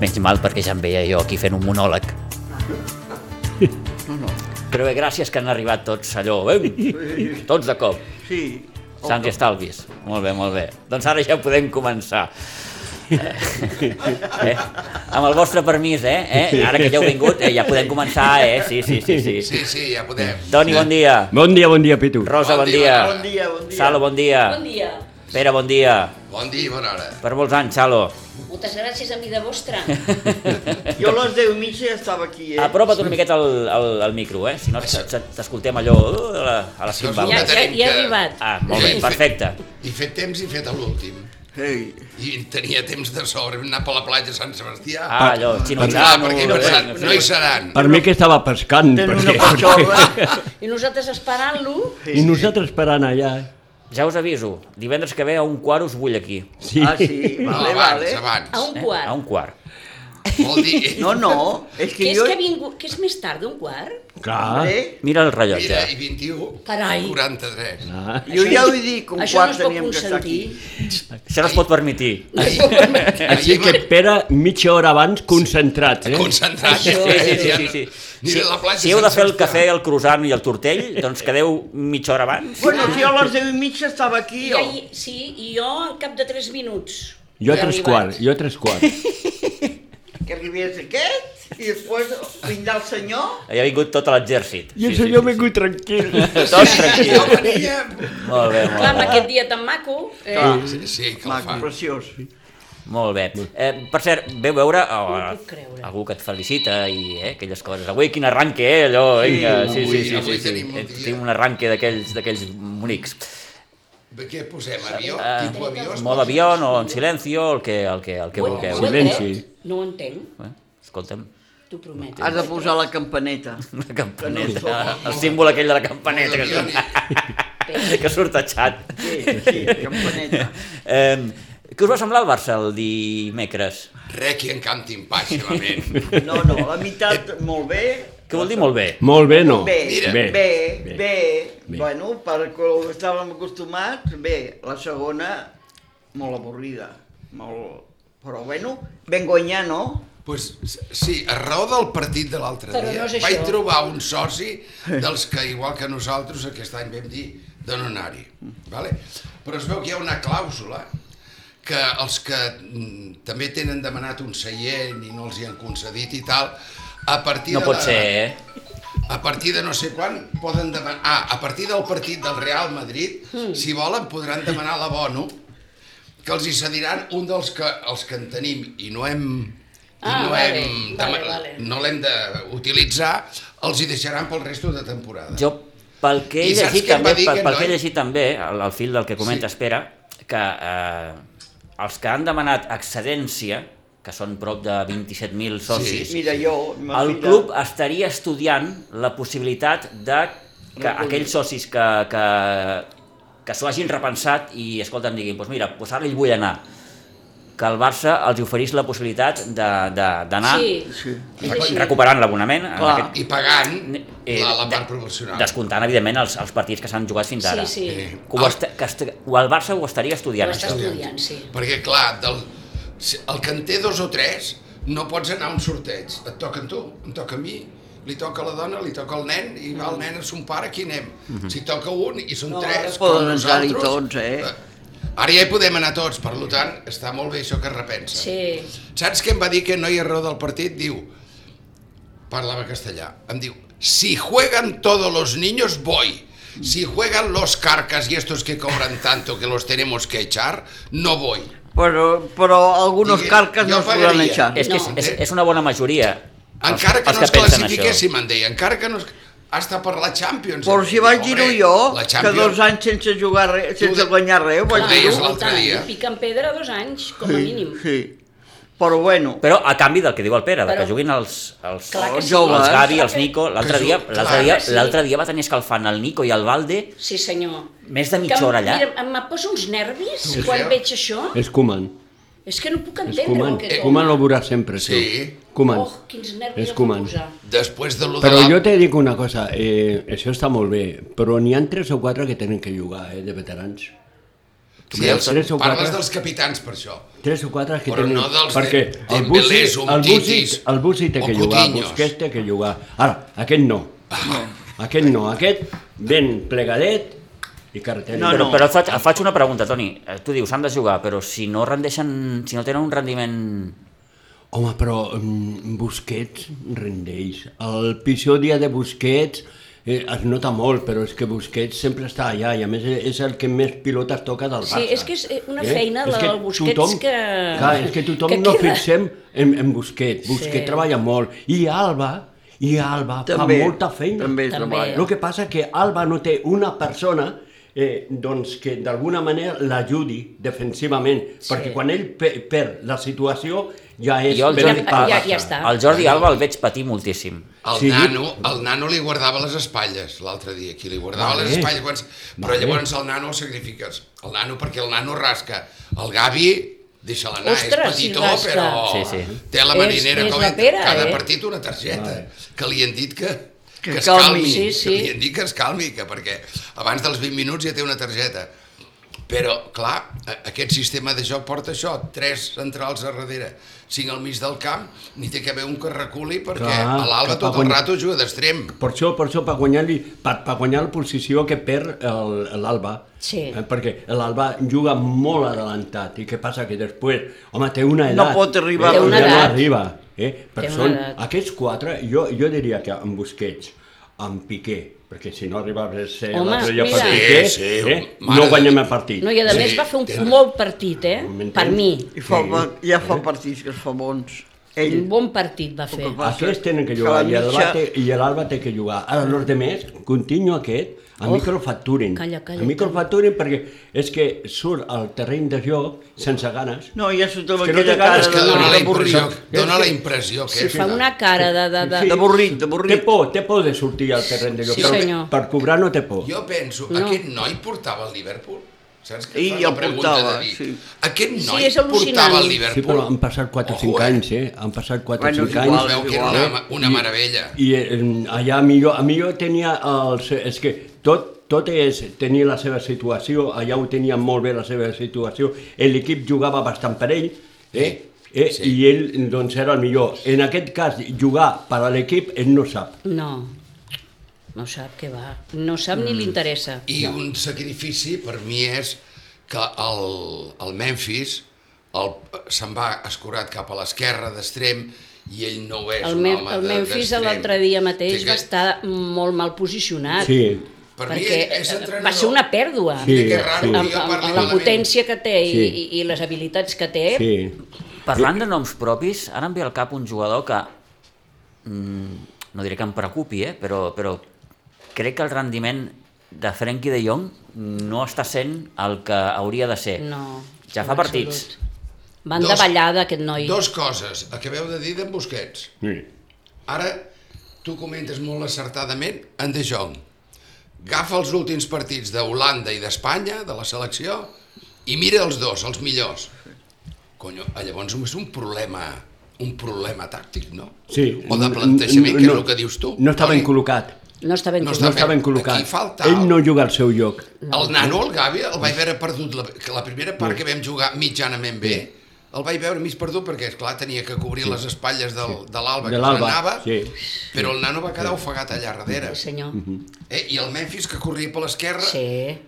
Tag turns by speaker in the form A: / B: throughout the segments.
A: Menys mal perquè ja em veia jo aquí fent un monòleg.
B: No, no.
A: Però bé, gràcies que han arribat tots allò, eh? tots de cop.
B: Sí.
A: Sants i estalvis. Molt bé, molt bé. Doncs ara ja podem començar. Eh? eh? Amb el vostre permís, eh? eh? Ara que ja heu vingut, eh? ja podem començar, eh? Sí, sí, sí. sí.
C: Sí, sí, ja podem.
A: Doni, bon dia.
D: Bon dia, bon dia, Pitu.
A: Rosa, bon
C: Bon dia,
A: dia.
B: Bon dia, bon dia.
A: Salo, bon
E: Bon
A: dia.
E: dia.
A: Pere, bon dia.
C: Bon dia i bona hora.
A: Per molts anys, Salo.
E: Moltes gràcies, amiga vostra.
B: Jo a les 10 i mitja ja estava aquí,
C: Ah,
B: eh?
A: Apropa't una miqueta al, al, al micro, eh? Si no,
C: Això.
A: t- t'escoltem allò uh, a la, a la cimbal.
E: Ja, ja,
C: tenim
E: ja he
C: que-
E: arribat.
A: Ah, molt bé,
C: Sí.
A: perfecte.
C: I fet temps i fet a l'últim.
B: Ei.
C: I tenia temps de sobre, anar per la platja de Sant Sebastià.
A: Ah, eh? allò,
C: Clar,
A: xinotxano...
C: perquè he pensat, no hi seran.
D: Per mi que estava pescant.
B: Tenen una
D: perquè-
B: patxola.
E: I nosaltres esperant-lo.
D: I nosaltres parant allà. eh?
A: Ja us aviso, divendres que ve a un quart us vull aquí.
D: Sí.
B: Ah, sí,
C: No,
B: vale,
C: abans,
B: vale. Ah,
E: A
C: abans.
E: un
A: Eh?
E: quart.
A: A un quart.
C: Vol dir...
B: No, no, és
E: Que
B: que
E: és
B: jo... eh?
E: que ha vingut... Que és més tard d'un quart?
C: Ah.
D: Clar.
B: Hombre,
A: Mira el
C: Mira,
A: rellotge.
C: i 21,
E: Carai.
C: 43.
D: Ah,
B: jo ja ho he dit, com
E: Això no
B: quan
E: es pot
B: teníem que estar aquí.
E: consentir.
A: Això no es pot permetir.
D: així que Pere, mitja hora abans, concentrats, eh?
C: Concentrat.
A: Sí, sí, sí, sí, sí.
C: Ni
A: Si,
C: la platja
A: si heu de
C: Sant
A: fer el
C: Sebastià.
A: cafè, el croissant i el tortell, doncs quedeu mitja hora abans.
B: Bueno, si jo a les 10 i mitja estava aquí,
E: I
B: jo.
E: ahir, sí, i jo al cap de tres minuts.
D: Jo a
E: he
D: tres
E: arribat.
D: quarts, jo a tres quarts.
B: Que arribés aquest, i després vindrà el senyor.
A: Ja ha vingut tot l'exèrcit.
D: I el
A: Sí, sí,
D: senyor
A: sí,
D: m'he
A: sí.
D: vingut tranquil.
A: Tots
C: Jo
A: tranquils.
C: venia...
A: Molt bé,
E: Clar,
A: molt
E: amb
A: bé.
E: aquest dia tan maco. Eh?
C: Sí, sí, que el
B: Ah, Maco,
C: fa.
B: preciós.
A: Molt bé. Eh, per cert, veu veure oh,
E: No ho puc creure.
A: algú que et felicita i eh, aquelles coses. Avui quin arranque, eh, allò,
B: Sí,
A: vinga. Sí, sí,
C: avui-
A: sí, sí,
C: avui
A: sí.
C: tenim un
A: Eh,
C: dia.
A: Tinc un arranque d'aquells d'aquells bonics.
C: De Què posem, avió?
A: Eh,
C: Tipus avió? es
A: Mode
C: posa?
A: avión o en silencio, el que, el que, el que
E: Ho he-
A: vulgueu.
E: ho he
D: Silenci.
E: tret. No ho entenc,
A: Eh, escolta'm,
E: t'ho prometo.
B: Has de posar la campaneta.
A: la campaneta,
B: No,
A: el símbol aquell de la campaneta que
C: Mode avión
A: surt,
C: i-
A: que surt a xat.
B: Sí, sí, campaneta.
A: Eh, què us va semblar el Barça el dimecres?
C: Requi en cantin pàgilament.
B: No, no, la meitat molt bé.
A: Que vol dir molt bé.
D: Molt bé, no?
B: Bé,
C: Mira.
B: bé, bé,
D: bé.
B: bé.
D: Bé.
B: Bueno, per que ho estàvem acostumats, bé. La segona, molt avorrida. Molt... Però bueno, ben guanyar, no?
C: Pues, sí, a raó del partit de l'altre
E: Però
C: dia,
E: no és
C: vaig
E: això.
C: trobar un soci dels que, igual que nosaltres, aquest any vam dir de no anar-hi. Vale? Però es veu que hi ha una clàusula que els que mm, també tenen demanat un seient i no els hi han concedit i tal, a partir
A: No
C: de
A: pot
C: la-
A: ser, eh?
C: a partir de no sé quan poden demanar... Ah, a partir del partit del Real Madrid,
E: Hmm.
C: si volen, podran demanar l'abono, que els hi cediran un dels que, els que en tenim i no hem... I
E: Ah,
C: no
E: vale,
C: hem
E: vale,
C: dema-
E: vale.
C: no l'hem d'utilitzar, els hi deixaran pel resto de temporada.
A: Jo, pel que he
C: I saps
A: llegit
C: què em va
A: també,
C: dir
A: pel,
C: aquest
A: pel que he
C: noi?
A: llegit també, al, al fil del que comenta
C: Sí.
A: Espera, que eh, els que han demanat excedència, que són prop de 27.000 socis,
B: Mira, jo... ma
A: el
B: filla-
A: club estaria estudiant la possibilitat de que
B: Recollir.
A: aquells socis que, que, que s'ho hagin repensat i, escolta'm, diguin, doncs mira, doncs ara hi vull anar, que el Barça els oferís la possibilitat de- de- d'anar
E: Sí,
B: Sí.
E: és
A: eh,
E: així.
A: recuperant l'abonament, en
B: Clar.
A: aquest
C: I pagant
A: Eh,
C: la, la
A: de-
C: part proporcional.
A: descomptant, evidentment, els, els partits que s'han jugat fins
E: Sí,
A: ara.
E: sí.
C: Eh,
A: Que ho est- que est- o el Barça ho estaria estudiant,
E: Ho
A: això.
E: estàs- estudiant, sí.
C: Perquè, clar, del, si- el que en té dos o tres no pots anar a un sorteig. Et toca a tu, em toca a mi, li toca a la dona, li toca al nen, i va el nen a son pare, aquí anem. Si toca un i són
B: Mm. No,
C: tres,
B: ara poden
C: com
B: entrar-hi
C: nosaltres,
B: tots, eh?
C: eh, Ara ja hi podem anar tots, per lo tant, està molt bé això que es repensa.
E: Sí.
C: Saps què em va dir que no hi ha raó del partit? Diu, parlava castellà, em diu, si juegan todos los niños, voy. Si juegan los carcas y estos que cobran tanto que los tenemos que echar, no voy.
B: Però, però algunos
C: Diguem,
B: carques
C: jo
B: no es podran
C: pagaria.
D: Eh,
B: echar.
A: És que és,
E: No.
A: és, és una bona majoria. els-
C: Encara que
A: els
C: no ens
A: pensen
C: classifiquéssim, em deia, encara que no... es- Hasta per la Champions.
B: Però si vaig
C: Hombre,
B: dir-ho jo,
C: la
B: que
C: Champions,
B: dos anys sense jugar res,
C: Tu
B: sense
C: de-
B: guanyar res, ho vaig
C: Clar,
B: dir
C: deies
B: -ho.
C: l'altre dia.
E: Pica en pedra dos anys, com a mínim.
B: Sí. Però bueno,
A: Però a canvi del que diu el Pere, de que
E: Però-
A: juguin els, els,
E: Clar que
A: els
E: sí.
B: joves.
A: Gavi, els Nico, l'altre
C: Que
A: dia,
C: ju-
A: l'altre
C: clar
A: dia,
E: que sí.
A: l'altre dia va tenir escalfant el Nico i el Valde
E: Sí, senyor.
A: més de mitja
E: Que em-
A: hora allà.
E: Mira, em em posa uns nervis
C: Tu
E: quan
C: creus?
E: veig això.
D: És Koeman.
E: És que no puc
D: És
E: entendre
D: Koeman.
E: el que és.
D: Koeman ho veurà sempre, sí.
C: Sí.
D: Koeman.
E: Oh, quins nervis
D: És
E: em va
D: Koeman.
E: posar.
C: després de lo
D: Però
C: de la...
D: jo te dic una cosa, eh, això està molt bé, però n'hi ha tres o quatre que tenen que jugar, eh, de veterans.
C: Sí, els,
D: Tres o
C: parles
D: quatre.
C: dels capitans per això.
D: Tres o quatre que
C: Però
D: tenen...
C: no dels
D: perquè
C: de-
D: el
C: Dembélés,
D: Busi,
C: un
D: el Busi,
C: Titis,
D: el Busi té
C: o
D: que jugar,
C: Coutinhos.
D: Busquets té que jugar. Ara, aquest no.
C: Ah.
D: Aquest no, aquest ben plegadet i carretera.
B: No,
A: però,
B: no.
A: però et faig, et faig una pregunta, Toni. Eh, Tu dius, han de jugar, però si no rendeixen, si no tenen un rendiment...
D: Home, però mm, Busquets rendeix. El pitjor dia de Busquets eh, es nota molt, però és que Busquets sempre està allà i a més és el que més pilotes toca del Barça. Eh?
E: Sí, és que és una feina, la del Busquets,
D: tothom,
E: que-
D: Clar, és que tothom
E: que
D: no
E: queda.
D: fixem en, en Busquets. Busquets
E: Sí.
D: treballa molt. I Alba, i Alba
B: També,
D: fa molta feina.
B: també
E: També.
B: treballa.
D: El que passa que Alba no té una persona eh, doncs que d'alguna manera l'ajudi defensivament, sí. perquè quan ell pe perd la situació ja és...
A: Jo el
D: ben
A: Jordi,
E: Ja-
D: pagat.
E: ja- ja està.
A: el Jordi Alba el veig patir moltíssim.
C: El, sí.
D: Sí.
C: nano, el nano li guardava les espatlles l'altre dia, aquí li guardava
D: Vale.
C: vale. les espatlles, quan... però
D: Vale.
C: llavors el nano el sacrifiques, el nano perquè el nano rasca, el Gavi deixa-la anar,
E: Ostres,
C: és petitó,
E: sí, rasca.
C: però
A: Sí, sí.
C: té la
E: És-
C: marinera
E: és
C: com
E: la
C: entra-
E: pera,
C: cada
E: eh?
C: partit una targeta,
D: Vale.
C: que li han dit que, que,
B: Que
C: es
B: calmi.
C: calmi,
E: Sí, sí.
C: que li han dit que es calmi, que perquè abans dels 20 minuts ja té una targeta. Però, clar, a- aquest sistema de joc porta això, tres centrals a darrere, cinc al mig del camp, ni té que haver un que reculi perquè
D: Clar,
C: a l'Alba
D: que
C: tot el
D: quan-
C: rato juga d'extrem.
D: Per això, per això, per guanyar-li, per, per guanyar la posició que perd el- l'Alba.
E: Sí.
D: Eh, perquè l'Alba juga molt adelantat. I què passa? Que després, home, té una
B: No
D: edat.
B: pot arribar
E: a
D: eh,
E: una
D: ja
E: edat.
D: No arriba. Eh? Per
E: Té una
D: són,
E: edat.
D: aquests quatre, jo, jo diria que amb Busquets, amb Piqué, perquè si no arribaves a ser
E: Home,
D: l'altre dia per
E: mira.
D: Piqué,
C: Sí, sí,
D: eh?
C: mare
D: no
C: de
D: guanyem
C: Déu.
D: el partit.
E: No, i a
C: Sí,
E: més va fer un
C: té raó.
E: molt partit, eh?
D: M'entens?
E: Per mi.
B: I fa,
D: Sí.
B: pa- ja fa partits que es fa bons. Ell,
E: Un bon partit va fer.
B: Ocupa-
D: Aquests tenen que
B: Que
D: jugar
B: la
D: i l'Alba
B: mitja-
D: té, i l'Alba té que jugar. Ara, els demés, continu aquest, a
E: Oh,
D: oh, microfacturin.
E: calla, calla.
D: A microfacturin perquè és que surt al terreny de joc sense ganes.
B: No, ja surt amb
D: És que no té
B: aquella cara
C: És
D: ganes,
C: que
D: no,
C: dona
D: no,
C: la
D: no,
C: impressió,
D: no, no.
C: dona la impressió que
E: Sí,
C: és
E: fa una cara de... de, de...
D: Sí.
B: D'avorrit, d'avorrit.
D: Té por, té por de sortir al terreny de joc,
E: Sí,
D: però
E: senyor.
D: per cobrar no té por.
C: Jo penso,
E: No.
C: aquest noi portava el Liverpool? Saps que
B: I
C: fa
B: el
C: la pregunta
B: portava,
C: de dir?
B: sí.
C: Aquest
E: Sí,
C: noi
E: és al·lucinant.
C: portava el
D: Sí,
C: Liverpool?
D: però han passat 4 o 5
C: Ojo, eh?
D: anys, eh? Han passat 4 o
B: Bueno,
D: 5
B: és
D: anys.
B: igual,
C: Es veu que era
B: igual,
C: una, una meravella.
D: I eh, allà millor, a millor tenia els... És que tot, tot és tenir la seva situació, allà ho tenia molt bé la seva situació, l'equip jugava bastant per ell, eh? Eh?
C: Sí.
D: Sí. i ell doncs era el millor. En aquest cas, jugar per a l'equip, ell no sap.
E: No, no sap què va. No sap ni li interessa.
C: I un sacrifici per mi és que el, el Memphis el, se'n va escurat cap a l'esquerra d'extrem i ell no ho és
E: El,
C: un
E: meu,
C: home
E: el
C: de-
E: meu fill
C: d'extrem.
E: l'altre dia mateix
C: Té
E: va estar molt mal posicionat.
D: Sí.
C: Per mi
E: perquè eh,
C: és entrenador.
E: va ser una pèrdua.
D: Sí,
C: Que raro,
D: sí.
C: que
E: amb,
C: jo
E: amb,
C: parli
E: amb la
C: malament.
E: potència que té i,
D: Sí.
E: i, i les habilitats que té,
D: Sí.
A: Parlant de noms propis, ara em ve al cap un jugador que... mm, No diré que em preocupi, eh? però, però crec que el rendiment de Frenkie de Jong no està sent el que hauria de ser.
E: no.
A: Ja
E: en
A: fa partits.
E: absolut. Va en
C: Dos-
E: davallada aquest noi.
C: Dos coses, el que veu de dir d'en Busquets.
D: sí.
C: Ara, tu comentes molt acertadament en De Jong. Agafa els últims partits d'Holanda i d'Espanya, de la selecció, i mira els dos, els millors. Conyo, ah, llavors és un problema un problema tàctic, no?
D: Sí.
C: O de plantejament,
D: No-
C: que és
D: no-
C: el que dius tu.
D: No està ben
C: Toni.
D: col·locat.
E: No està ben
C: No
E: col·locat.
D: No
C: Està
D: està
C: bé,
D: ben col·locat.
C: aquí falta
D: Ell
C: algo.
D: no juga al seu lloc.
C: El nano, el Gavi, el vaig veure perdut. La, que la primera part que vam jugar mitjanament bé, el vaig veure mig perdut perquè, és clar tenia que cobrir les espatlles del, de l'Alba,
D: De
C: que
D: l'Alba,
C: l'anava,
D: sí.
C: però el nano va quedar ofegat allà darrere.
E: Sí, senyor.
A: Mhm.
C: Eh? I el Memphis, que corria per l'esquerra,
E: Sí.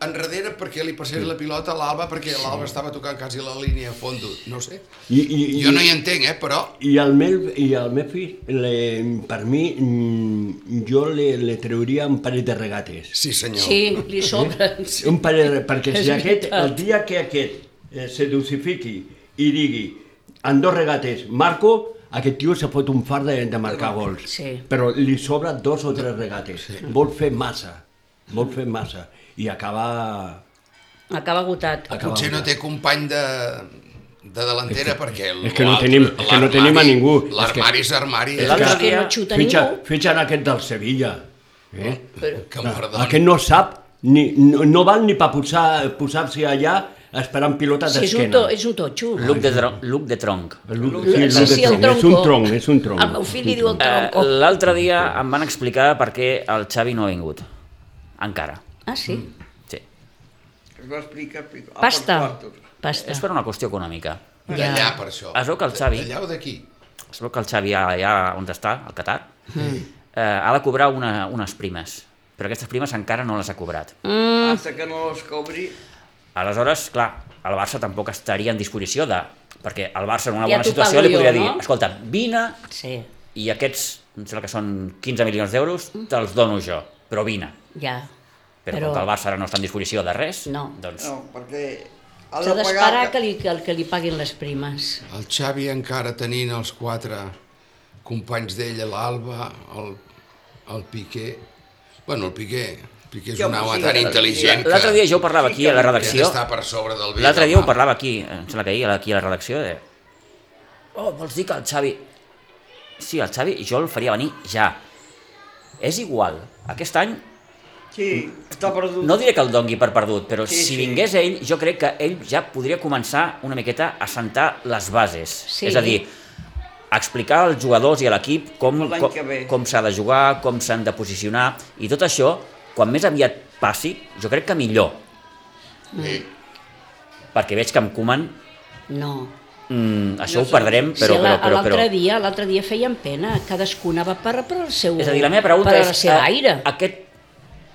C: enrere perquè li passés la pilota a l'Alba, perquè l'Alba estava tocant quasi la línia a fondo. No ho sé.
D: I, i, i,
C: Jo no hi entenc, eh, però...
D: I el Mel, i el Memphis, le, per mi, mm, jo le, le treuria un parell de regates.
C: Sí, senyor.
E: Sí, li sobra. Sí.
D: Un parell de, perquè
E: És
D: si aquest,
E: veritat.
D: el dia que aquest eh, se dulcifiqui i digui en dos regates marco, aquest tio se fot un far de, de marcar gols.
E: Sí.
D: Però li sobra dos o tres regates. Vol fer massa, vol fer massa. I acaba...
E: Acaba agotat.
D: Acaba-
C: Potser no té company de, de delantera perquè...
D: és que no
C: l'altre-
D: tenim- és que no tenim a
C: l'armari-
D: ningú. És que-
C: L'armari és armari.
D: És
E: Però
A: L'altre
E: és que
A: dia-
E: no xuta
D: Fitxa,
E: ningú.
D: fitxen aquest del Sevilla. Eh?
E: Però,
C: Que em perdoni.
D: Aquest no sap, ni, no, no val ni per posar-se allà esperant pilotes
E: si és un,
D: d'esquena.
E: to, Ah, és un totxo.
A: Luc de, tron, Luc de Tronc.
D: Lu-
E: Sí,
D: Lu-
E: sí,
D: És
E: el
D: un
E: tronco.
D: tronc, és un
A: Ah.
D: tronc.
E: El meu fill li diu el
A: Eh,
E: tronco.
A: L'altre dia em van explicar per què el Xavi no ha vingut. Encara.
E: Ah, sí?
A: Sí.
B: Es va explicar, explicar. Ah,
E: Pasta.
B: pels quartos.
E: Pasta.
A: És per una qüestió econòmica.
C: D'allà, per això.
A: Es veu que el Xavi-
C: D'allà o d'aquí?
A: Es veu que el Xavi, allà on està, al Qatar, mm. eh, ha de cobrar una, unes primes, però aquestes primes encara no les ha cobrat.
E: Mm.
B: Hasta que no les cobri...
A: Aleshores, clar, el Barça tampoc estaria en disposició de... Perquè el Barça en una
E: Ja
A: bona
E: t'ho
A: situació
E: pago
A: li podria
E: jo,
A: dir,
E: no?
A: escolta, vine
E: Sí,
A: i aquests, em sembla que són 15 milions d'euros,
E: Mm.
A: te'ls dono jo, però vine.
E: ja.
A: Però, però... com que el Barça ara no està en disposició de res,
E: No.
A: doncs...
B: No, perquè... ha
E: S'ha
B: de
E: d'esperar
B: pagar-
E: que, li, que, que li paguin les primes.
C: El Xavi encara tenint els quatre companys d'ell, l'Alba, el, el Piqué... Bueno, el Piqué, el Piqué és
B: Jo,
C: un home
B: sí,
C: tan
B: sí.
C: intel·ligent que...
A: L'altre dia jo ho parlava aquí a la redacció,
C: Està per sobre del bé. i
A: l'altre
C: del
A: dia ho
C: mal.
A: parlava aquí, em sembla que ahir, aquí a la redacció, de... Oh, vols dir que el Xavi... Sí, el Xavi jo el faria venir ja. És igual, aquest any
B: Sí, està perdut.
A: No diré que el dongui per perdut, però
B: Sí,
A: sí, si
B: sí.
A: vingués ell, jo crec que ell ja podria començar una miqueta a sentar les bases.
E: Sí.
A: És a dir, a explicar als jugadors i a l'equip com,
B: Per l'any
A: com,
B: que ve.
A: com s'ha de jugar, com s'han de posicionar, i tot això, quan més aviat passi, jo crec que millor.
E: Mm.
C: Sí.
A: Perquè veig que amb Koeman
E: No.
A: mm, això
B: No
A: ho perdrem, però... però,
E: sí, la-
A: però, però,
E: l'altre dia, l'altre dia feien pena, cadascuna va per, per el seu...
A: És a dir, la meva pregunta
E: per
A: és... eh, Ah.
E: la seva aire.
A: A, aquest,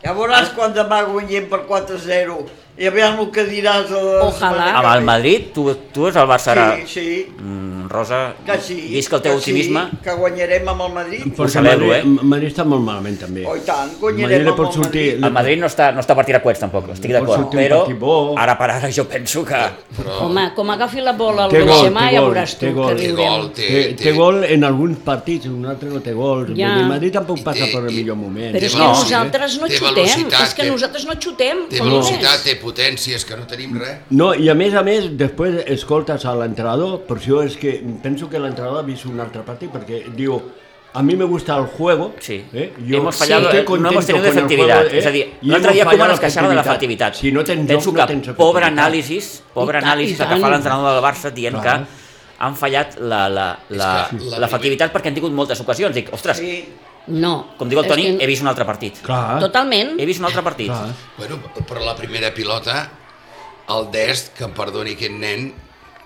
B: Ja veuràs
E: Ah.
B: quan demà guanyem per 4-0 i aviam el que diràs a la
E: Ojalà.
B: setmana
A: amb
B: que
A: el
B: ve.
A: Madrid, tu, tu és el Barça ara...
B: Sí, sí,
A: Mm, Rosa,
B: que sí.
A: visca el teu
B: que sí,
A: optimisme.
B: que guanyarem amb el Madrid.
A: Pues-
D: Perquè
A: celebro,
D: Madrid,
A: eh?
D: Madrid està molt malament també.
B: Oh, i tant,
D: Madrid
B: guanyarem
D: li
B: amb
D: pot
B: el
D: sortir...
B: Madrid.
A: El Madrid no està, no està per tirar coets tampoc, estic
D: Pot
A: d'acord,
D: sortir un
A: però
D: petit bo.
A: ara per ara jo penso que...
C: Però
E: Home, com agafi la bola el
D: Té gol,
E: Benzema,
D: té
E: ja
D: gol,
E: veuràs tu
D: té
E: que
D: gol.
C: té
E: riurem.
C: gol, té...
D: Té, té gol en alguns partits, en un altre no té gol. Ja.
E: Ja.
D: El Madrid tampoc
C: I
D: passa
C: té-
D: per el
C: i-
D: millor moment.
E: Però és
C: Té
E: que
A: veloci-
E: nosaltres no
C: té
E: xutem,
C: velocitat,
E: és que
C: té-
E: nosaltres no xutem.
C: Té
E: com
C: velocitat,
E: és?
C: té potència, és que no tenim res.
D: No, i a més a més, després escoltes a l'entrenador, per això és que penso que l'entrenador ha vist un altre partit, perquè diu, a mi me gusta el juego,
A: Sí.
D: eh?
A: Hemos fallado,
D: estoy
A: eh, no hemos
D: contento
A: tenido
D: con el
A: efectividad.
D: juego, eh?
A: És a dir,
D: I
A: l'altre
D: hemos
A: dia
D: fallado
A: Koeman es queixava de l'efectivitat.
D: Si no tens
A: Penso
D: joc,
A: que
D: no tens
A: pobre
D: efectivitat.
A: anàlisi, pobre
E: I tant,
A: anàlisi
E: i
A: que
E: tant.
A: fa l'entrenador del Barça dient que
D: Clar.
A: han fallat la, la, la,
C: És que la
A: l'efectivitat perquè han tingut moltes ocasions. Dic, ostres,
B: Sí,
E: No.
A: com diu el
E: és
A: Toni,
E: que
A: he vist un altre partit.
D: Clar,
E: Totalment.
A: He vist un altre partit.
D: clar.
C: Bueno, però la primera pilota, el Dest, que em perdoni aquest nen,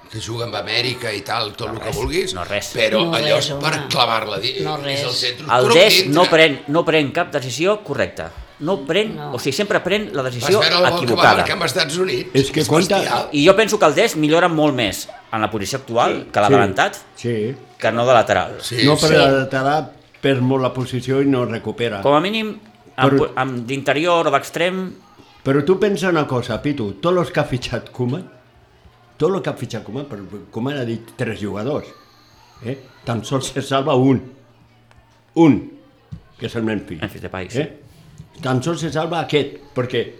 C: que juga amb Amèrica i tal, tot el que
A: res,
C: vulguis,
A: no res.
C: però
E: No
C: allò
E: res,
C: és per
E: home.
C: clavar-la, di-
E: No
C: és el
E: res.
C: centre,
A: El
C: truc
A: Des
C: dintre.
A: no pren, no pren cap decisió correcta. No pren,
E: No.
A: o sigui, sempre pren la
C: Vas
A: decisió
C: veure el gol que va
A: equivocada.
C: marcar amb els Estats Units?
D: És que compta-
C: bestial.
A: I jo penso que el Des millora molt més en la posició actual que l'ha adelantat
D: Sí,
A: que no de lateral.
D: sí. No, però l'entrenador perd molt la posició i no recupera.
A: Com a mínim, amb,
D: Però-
A: amb d'interior o d'extrem,
D: Però tu pensa una cosa, Pitu, tots els que ha fitxat Koeman, tot el que ha fitxat Koeman, però Koeman ha dit tres jugadors, eh? tan sols se salva un, un, que és el Memphis.
A: Memphis Depay, sí.
D: eh? Tan sols se salva aquest, perquè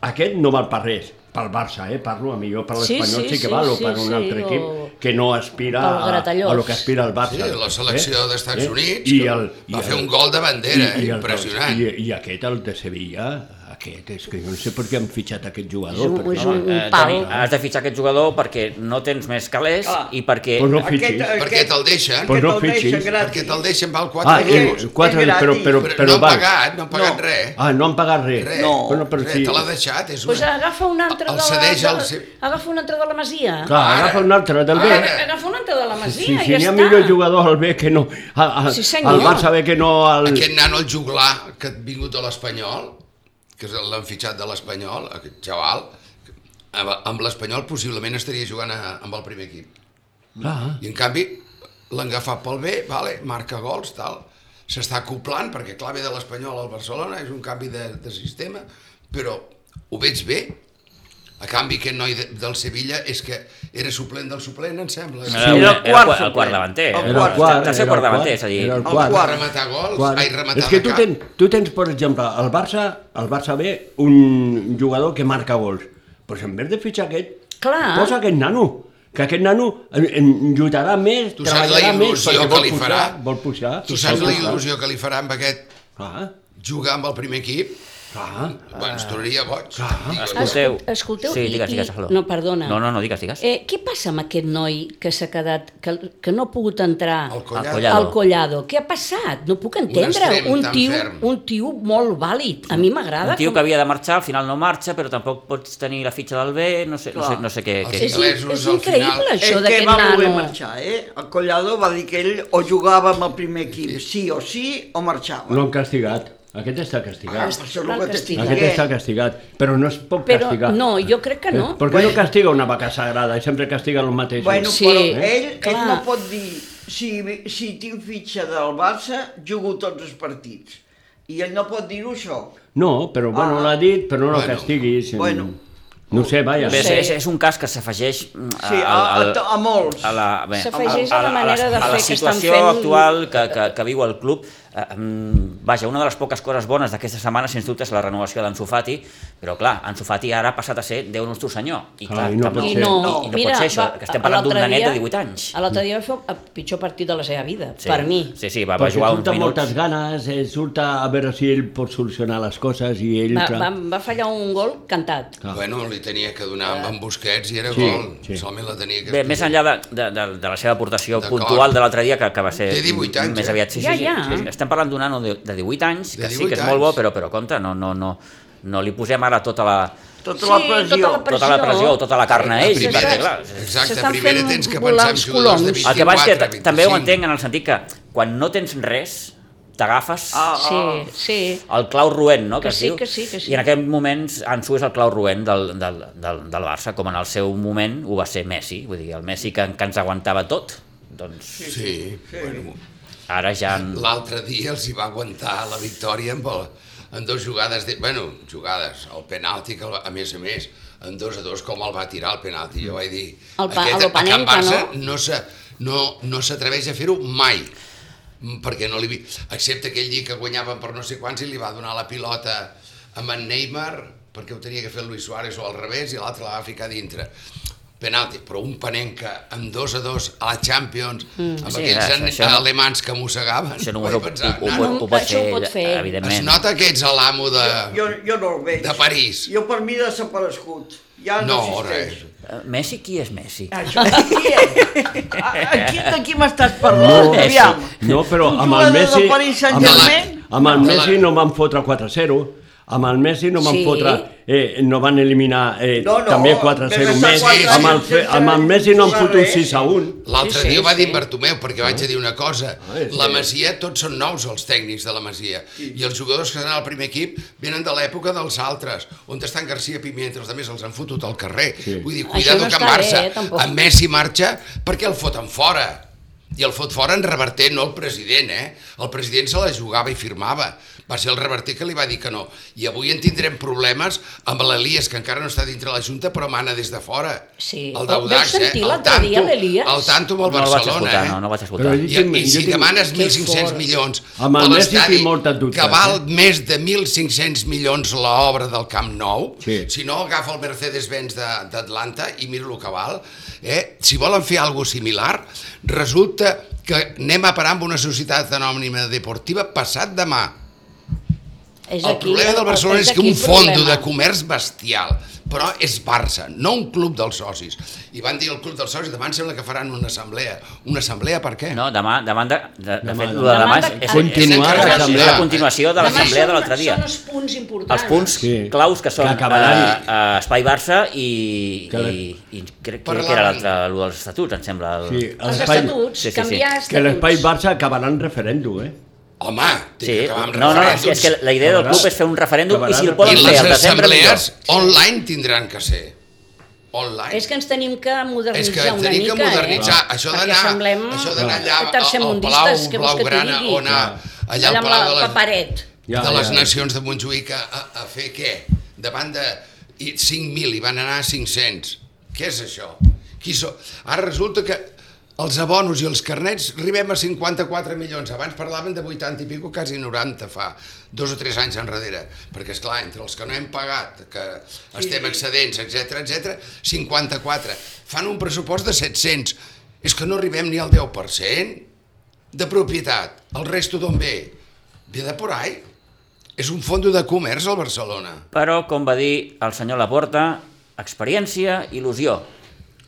D: aquest no val per res, pel Barça, eh? parlo, a millor per
E: Sí,
D: l'Espanyol sí,
E: sí,
D: sí, que
E: sí,
D: val, o
E: sí,
D: per un
E: sí,
D: altre
E: o
D: equip que no aspira
E: pel
D: a, a lo
E: Gratallops.
D: que aspira el Barça. eh?
C: Sí, la selecció d'Estats Units,
D: I
C: que
D: el,
C: va
D: i
C: fer
D: el-
C: un gol de bandera,
D: i, i el-
C: impressionant.
D: I, I aquest, el de Sevilla, aquest, és que jo no sé per què han fitxat aquest
E: És
D: jugador.
E: un,
D: perquè,
E: és un,
A: eh,
E: un pal.
A: Toni, has de fitxar aquest jugador perquè no tens més calés
B: Clar.
A: i perquè...
D: Pues no
B: Aquest-
D: fitxis.
C: Perquè te'l deixen,
D: Pues no
B: Aquest el deixa
D: fitxis.
B: gratis.
C: perquè te'l deixen, val 4
D: Ah, eh,
C: euros.
B: és-
D: quatre,
B: és gratis.
D: però, però,
C: Però,
D: però,
C: no han
D: va.
C: pagat, no han pagat
B: No.
C: res.
D: Ah, no han pagat res.
C: Res.
B: No.
D: Bueno, però
C: res,
D: sí.
C: te l'ha deixat, és una...
E: Pues agafa un altre
C: El
E: de la,
C: cedeix
E: de,
C: al seu-
E: agafa un altre de la Masia.
D: Clar, agafa un altre del
C: Ara.
D: B.
E: Aga- Agafa un altre de la Masia
D: Si, si
E: i ja
D: n'hi ha
E: està.
D: millor jugador al B que no... A, a,
E: Sí, senyor.
D: al Barça B que no al...
C: Aquest nano, el juglar, que ha vingut a l'Espanyol, que és el- l'han fitxat de l'Espanyol, aquest xaval, amb- amb l'Espanyol possiblement estaria jugant a, amb el primer equip.
D: Ah,
C: I en canvi l'han agafat pel bé, vale, marca gols, tal, s'està acoplant, perquè clar, ve de l'Espanyol al Barcelona, és un canvi de, de sistema, però ho veig bé. A canvi, aquest noi de, del Sevilla és que era suplent del suplent, em sembla.
A: Eh, Era,
D: Sí.
A: era,
B: El
A: era,
B: quart
A: el
B: suplent.
A: quart davanter.
B: El
D: era el quart,
A: tercer
D: era el
A: quart davanter, és a dir...
D: era el
B: El
D: quart.
B: quart.
C: Rematar gols,
D: Quart.
C: ai, rematar
D: És que
C: de
D: tu,
C: cap.
D: ten, tu tens, per exemple, al Barça, al Barça B, un jugador que marca gols. Però en vez de fitxar aquest,
E: Clar.
D: posa aquest nano. Que aquest nano en, en lluitarà més,
C: Tu saps
D: treballarà
C: la
D: més,
C: il·lusió
D: perquè
C: que
D: vol
C: li
D: pujar,
C: farà?
D: vol pujar.
C: Tu saps
D: vol
C: la
D: pujar.
C: il·lusió que li farà amb aquest
D: Clar.
C: jugar amb el primer equip?
D: Clar.
C: Bueno, ens tornaria boig.
D: Clar.
C: Digues.
A: Escolteu.
E: Escolteu,
A: Sí,
E: i-
A: digues, digues,
E: i-
A: Salvador.
E: no, perdona.
A: No, no, no, digues, digues.
E: Eh, què passa amb aquest noi que s'ha quedat, que, que no ha pogut entrar
C: El
E: al
C: collar.
A: collar.
E: collado. Què ha passat? No puc entendre.
C: extrem
E: Un
C: tan
E: tio,
C: ferm.
E: un tio molt vàlid. A mi m'agrada.
A: Un tio que
E: com-
A: havia de marxar, al final no marxa, però tampoc pots tenir la fitxa del bé, no sé, no sé,
B: Clar.
A: no sé què...
C: Els
A: què.
E: És,
C: Anglesos,
E: és
C: al
E: increïble,
C: final-
E: això
B: és que
E: d'aquest
B: va
E: nano.
B: voler marxar, eh? El Collado va dir que ell o jugava amb el primer equip sí o sí o marxava.
D: L'han castigat. Aquest està castigat.
B: Això és el que t'estic
E: Aquest
D: Aquest
B: dient.
D: està castigat, però no es pot
E: Ah, Però
D: castigar.
E: no, jo crec que no.
D: Per què no castiga una vaca sagrada i sempre castiga els mateixos?
B: Bueno,
E: Sí,
B: sí, però
E: eh?
B: ell, ell
E: clar.
B: no pot dir si, si tinc fitxa del Barça, jugo tots els partits. I ell no pot dir-ho, això.
D: No, però bueno,
B: Ah.
D: l'ha dit, però no la
C: Bueno.
D: castiguis. eh.
B: Bueno.
D: No ho sé, vaja.
A: Bé,
E: Sí.
A: és, és un cas que s'afegeix mm,
B: Sí, a, a,
A: al-
B: a, a molts.
A: a la, bé,
E: S'afegeix a la manera de
A: a la
E: fer que estan
A: situació
E: fent-
A: actual que, que, que viu el club. Eh, mm, vaja, una de les poques coses bones d'aquesta setmana, sens dubte, és la renovació d'Ansu Fati, però clar, Ansu Fati ara ha passat a ser Déu nostre senyor. I
D: Clar,
A: clar,
D: i no
A: tampoc-
D: pot
E: I
D: ser.
E: no,
A: i, i no pot ser això, que estem parlant d'un
E: l'altre
A: nanet de
E: dia-
A: 18 anys.
E: L'altre dia va fer el pitjor partit de la seva vida, per mi.
A: Sí, sí, va, va
D: Perquè
A: jugar uns
D: surt amb
A: minuts.
D: moltes ganes, eh, surt a veure si ell pot solucionar les coses i ell...
E: Va,
D: clar,
E: va, va fallar un gol cantat.
D: Ah.
C: Bueno, li tenia que donar amb en Busquets i era
D: Sí,
C: gol.
D: sí.
C: Solament la tenia que...
A: Bé, més enllà de, de, de, de la seva aportació
C: D'acord.
A: puntual de l'altre dia, que, que va ser
C: Té 18 anys,
A: més
C: eh?
A: aviat. Sí,
E: Ja,
A: sí,
E: ja.
A: Sí, sí. Estem parlant d'un nano de, de 18 anys,
C: De
A: que sí que
C: 18
A: és molt bo,
C: anys.
A: però, però compte, no, no, no, no li posem ara tota la,
B: Tota
E: Sí,
B: la pressió.
E: tota la
A: tota la pressió, tota la carn a
C: La
A: ell,
C: primera,
A: perquè clar...
C: exacte,
E: s'estan
C: primera
E: fent
C: tens que
E: volar
C: pensar en
E: els
C: jugadors de
E: coloms.
A: El que vaig que
C: 24,
A: t- també ho
C: 25.
A: entenc en el sentit que quan no tens res, t'agafes
B: Ah, ah.
E: Sí, sí.
A: el clau roent, no?
E: Que
A: es
E: sí,
A: diu.
E: que sí, que sí.
A: I en aquest moment Ansu és el clau roent del, del, del, del Barça, com en el seu moment ho va ser Messi, vull dir, el Messi que, que ens aguantava tot, doncs
C: Sí, bueno,
A: ara ja... en-
C: l'altre dia els hi va aguantar la victòria amb, el, en dues jugades, de, bueno, jugades, el penalti, que el, va- a més a més, en dos a dos com el va tirar el penalti, jo vaig dir,
E: El pa-
C: aquest
E: el
C: a Can
E: Panenka,
C: Barça
E: no?
C: no, s'ha- no, no s'atreveix a fer-ho mai, Mm, perquè no li vi... excepte aquell dia que guanyaven per no sé quants i li va donar la pilota a en Neymar perquè ho tenia que fer el Luis Suárez o al revés i l'altre la va ficar dintre penalti, però un panenca amb dos a dos a la Champions mm. amb
A: Sí,
C: aquells
A: clar, això no-
C: alemans que mossegaven
A: Això només
C: Vaig
A: ho, ho,
C: pensar,
A: ho,
C: nano,
A: pot- ho, pot
E: Això
A: fer,
E: ho pot fer ell.
A: evidentment.
C: es nota que ets l'amo de...
B: Jo, jo no el veig.
C: De París.
B: Jo per mi desaparegut. Ja no,
C: No,
B: existeix. Ah,
C: res.
A: Eh, Messi, qui és Messi?
B: Això, aquí, eh? aquí, aquí m'estàs parlant,
D: No,
B: aviam.
D: no, però
B: Un
D: amb el
B: jugador
D: Messi...
B: del Paris
D: Amb el,
B: Saint-Germain?
D: amb el
C: No,
D: Messi
C: la-
D: no van fotre 4-0. Amb el Messi no van
E: Sí.
D: fotre... Eh, no van eliminar eh,
B: No, no,
D: també
B: vam
D: 4-0
B: estar
D: més.
C: quatre
D: Amb el,
B: anys
D: Fe-
B: sense
D: amb el Messi no han
B: jugar
D: fotut
B: res.
D: 6-1.
C: L'altre
E: Sí, sí,
C: dia ho va dir
E: sí.
C: Bartomeu, perquè vaig a dir una cosa.
D: Ah, és
C: La
D: que-
C: Masia, tots són nous els tècnics de la Masia. I els jugadors que estan al primer equip venen de l'època dels altres, on estan Garcia Pimienta, els altres els han fotut al carrer. Vull dir,
E: Això
C: cuidado
E: no
C: que en
E: està bé,
C: Barça,
E: eh, tampoc.
C: en Messi marxa perquè el foten fora. I el fot fora en Reverter, no el president, eh? El president se la jugava i firmava. Va ser el Reverter que li va dir que no. I avui en tindrem problemes amb l'Elias, que encara no està dintre la Junta, però mana des de fora.
E: Sí.
C: El
E: Vau
C: d'Audax, eh?
E: sentir
C: El
E: l'altre dia
C: tanto-
E: l'Elias?
C: El tanto amb el
A: no el vaig
C: Barcelona,
A: escoltar,
C: eh?
A: no, no el vaig escoltar.
D: Però
C: I,
D: jo tinc-
C: I si
D: jo tinc-
C: demanes
E: Que
C: 1.500
E: fort.
C: milions
D: Amb el
C: per
D: Messi
C: l'estadi,
D: tinc moltes dubtes,
C: que val
D: eh?
C: més de 1.500 milions l'obra del Camp Nou,
D: Sí.
C: si no agafa el Mercedes-Benz de- d'Atlanta i mira el que val, eh? si volen fer alguna similar, resulta que anem a parar amb una societat anònima deportiva passat demà.
E: És
C: El
E: aquí,
C: problema del Barcelona és que
E: aquí
C: un
E: el
C: fondo
E: problema.
C: de comerç bestial, però és Barça, no un club dels socis. I van dir el club dels socis, demà em sembla que faran una assemblea. Una assemblea per què?
A: No, demà, demà, de, de, de
D: Demà-
A: fet, lo de demà és, és,
D: Continuar
A: és, és, és
D: l'assemblea.
A: la continuació de
E: Demà
A: l'assemblea
E: són-
A: de l'altre dia.
E: Són els punts importants.
A: Els punts sí.
D: Sí.
A: claus que són
D: Que
A: que
D: acabaran-
A: a, a Espai Barça i,
D: Que la-
A: i, i crec, crec que era l'altre, el dels estatuts, em sembla. El...
D: Sí,
E: Els
D: l'espai-
E: estatuts,
A: Sí, sí, sí.
E: canviar estatuts.
D: Que l'espai Barça acabarà en referèndum, eh?
C: Home, té
A: Sí,
C: que acabar amb
A: no, no, és,
C: referèndums.
A: és que la idea del
D: Acabarà-
A: club és fer un referèndum i si el
D: acabarà
A: poden
C: I
A: fer
C: les
A: al desembre millor.
C: assemblees online tindran que ser. Online.
E: És que ens tenim que modernitzar
C: És que ens
E: una
C: tenim
E: mica,
C: que modernitzar.
E: eh?
C: Això
E: Perquè
C: d'anar
E: semblem
C: això d'anar allà al- al
E: tercermundistes,
C: Palau
E: què vols que t'hi
C: Blaugrana
E: digui?
C: o anar allà al
E: Allà amb
C: Palau de
E: la
C: les,
E: paperet.
D: Ja,
C: de les
D: ja.
C: Nacions de Montjuïc a, a, a fer què? Davant de i 5.000 i van anar a 500. Què és això? Qui so... Ara resulta que els abonos i els carnets arribem a 54 milions. Abans parlaven de 80 i pico, quasi 90 fa dos o tres anys enrere. Perquè, és clar entre els que no hem pagat, que estem excedents, etc etc, 54. Fan un pressupost de 700. És que no arribem ni al 10% de propietat. El resto d'on ve? Ve de por ahí. És un fondo de comerç al Barcelona.
A: Però, com va dir el senyor Laporta, experiència, il·lusió.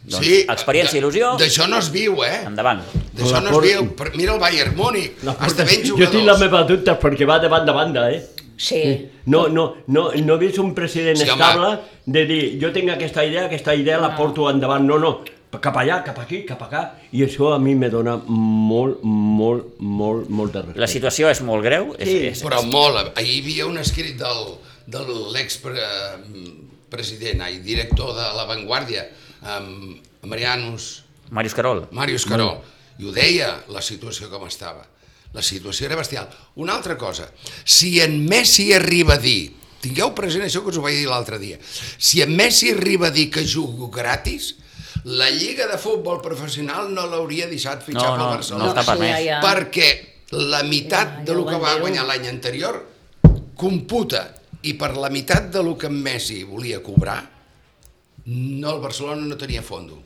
A: Doncs, experiència,
C: de-
A: il·lusió,
C: D'això no es viu, eh?
A: endavant.
C: D'això no es
D: Laporta-
C: viu. Per- Mira el Bayern Múnich. Hasta ben
D: jo tinc la
C: jugadors.
D: meva dubte perquè va de banda a banda, eh?
E: Sí.
D: No, no, no, no he vist un president
C: Sí,
D: sí,
C: home.
D: estable de dir jo tinc aquesta idea, aquesta idea la porto endavant. No, no, cap allà, cap aquí, cap acá. I això a mi me dona molt, molt, molt, molt de
A: La
D: respecte.
A: situació és molt greu. És,
B: Sí,
A: és,
C: Però molt. Ahir hi havia un escrit del, de l'expresident, ai, director de La Vanguardia, amb Marianus,
A: Màrius Carol.
C: Màrius Carol, i ho deia la situació com estava. La situació era bestial. Una altra cosa, si en Messi arriba a dir, tingueu present això que us ho vaig dir l'altre dia, si en Messi arriba a dir que jugo gratis, la Lliga de Futbol Professional no l'hauria deixat
A: No,
C: fitxar
A: no,
C: pel
A: no
C: Barcelona.
A: està permès.
E: Ja.
C: Perquè la mitat
E: Ja, ja
C: de lo
E: ho
C: que
E: van
C: va
E: dir.
C: guanyar l'any anterior computa i per la meitat de lo que en Messi volia cobrar no, el Barcelona no tenia fondo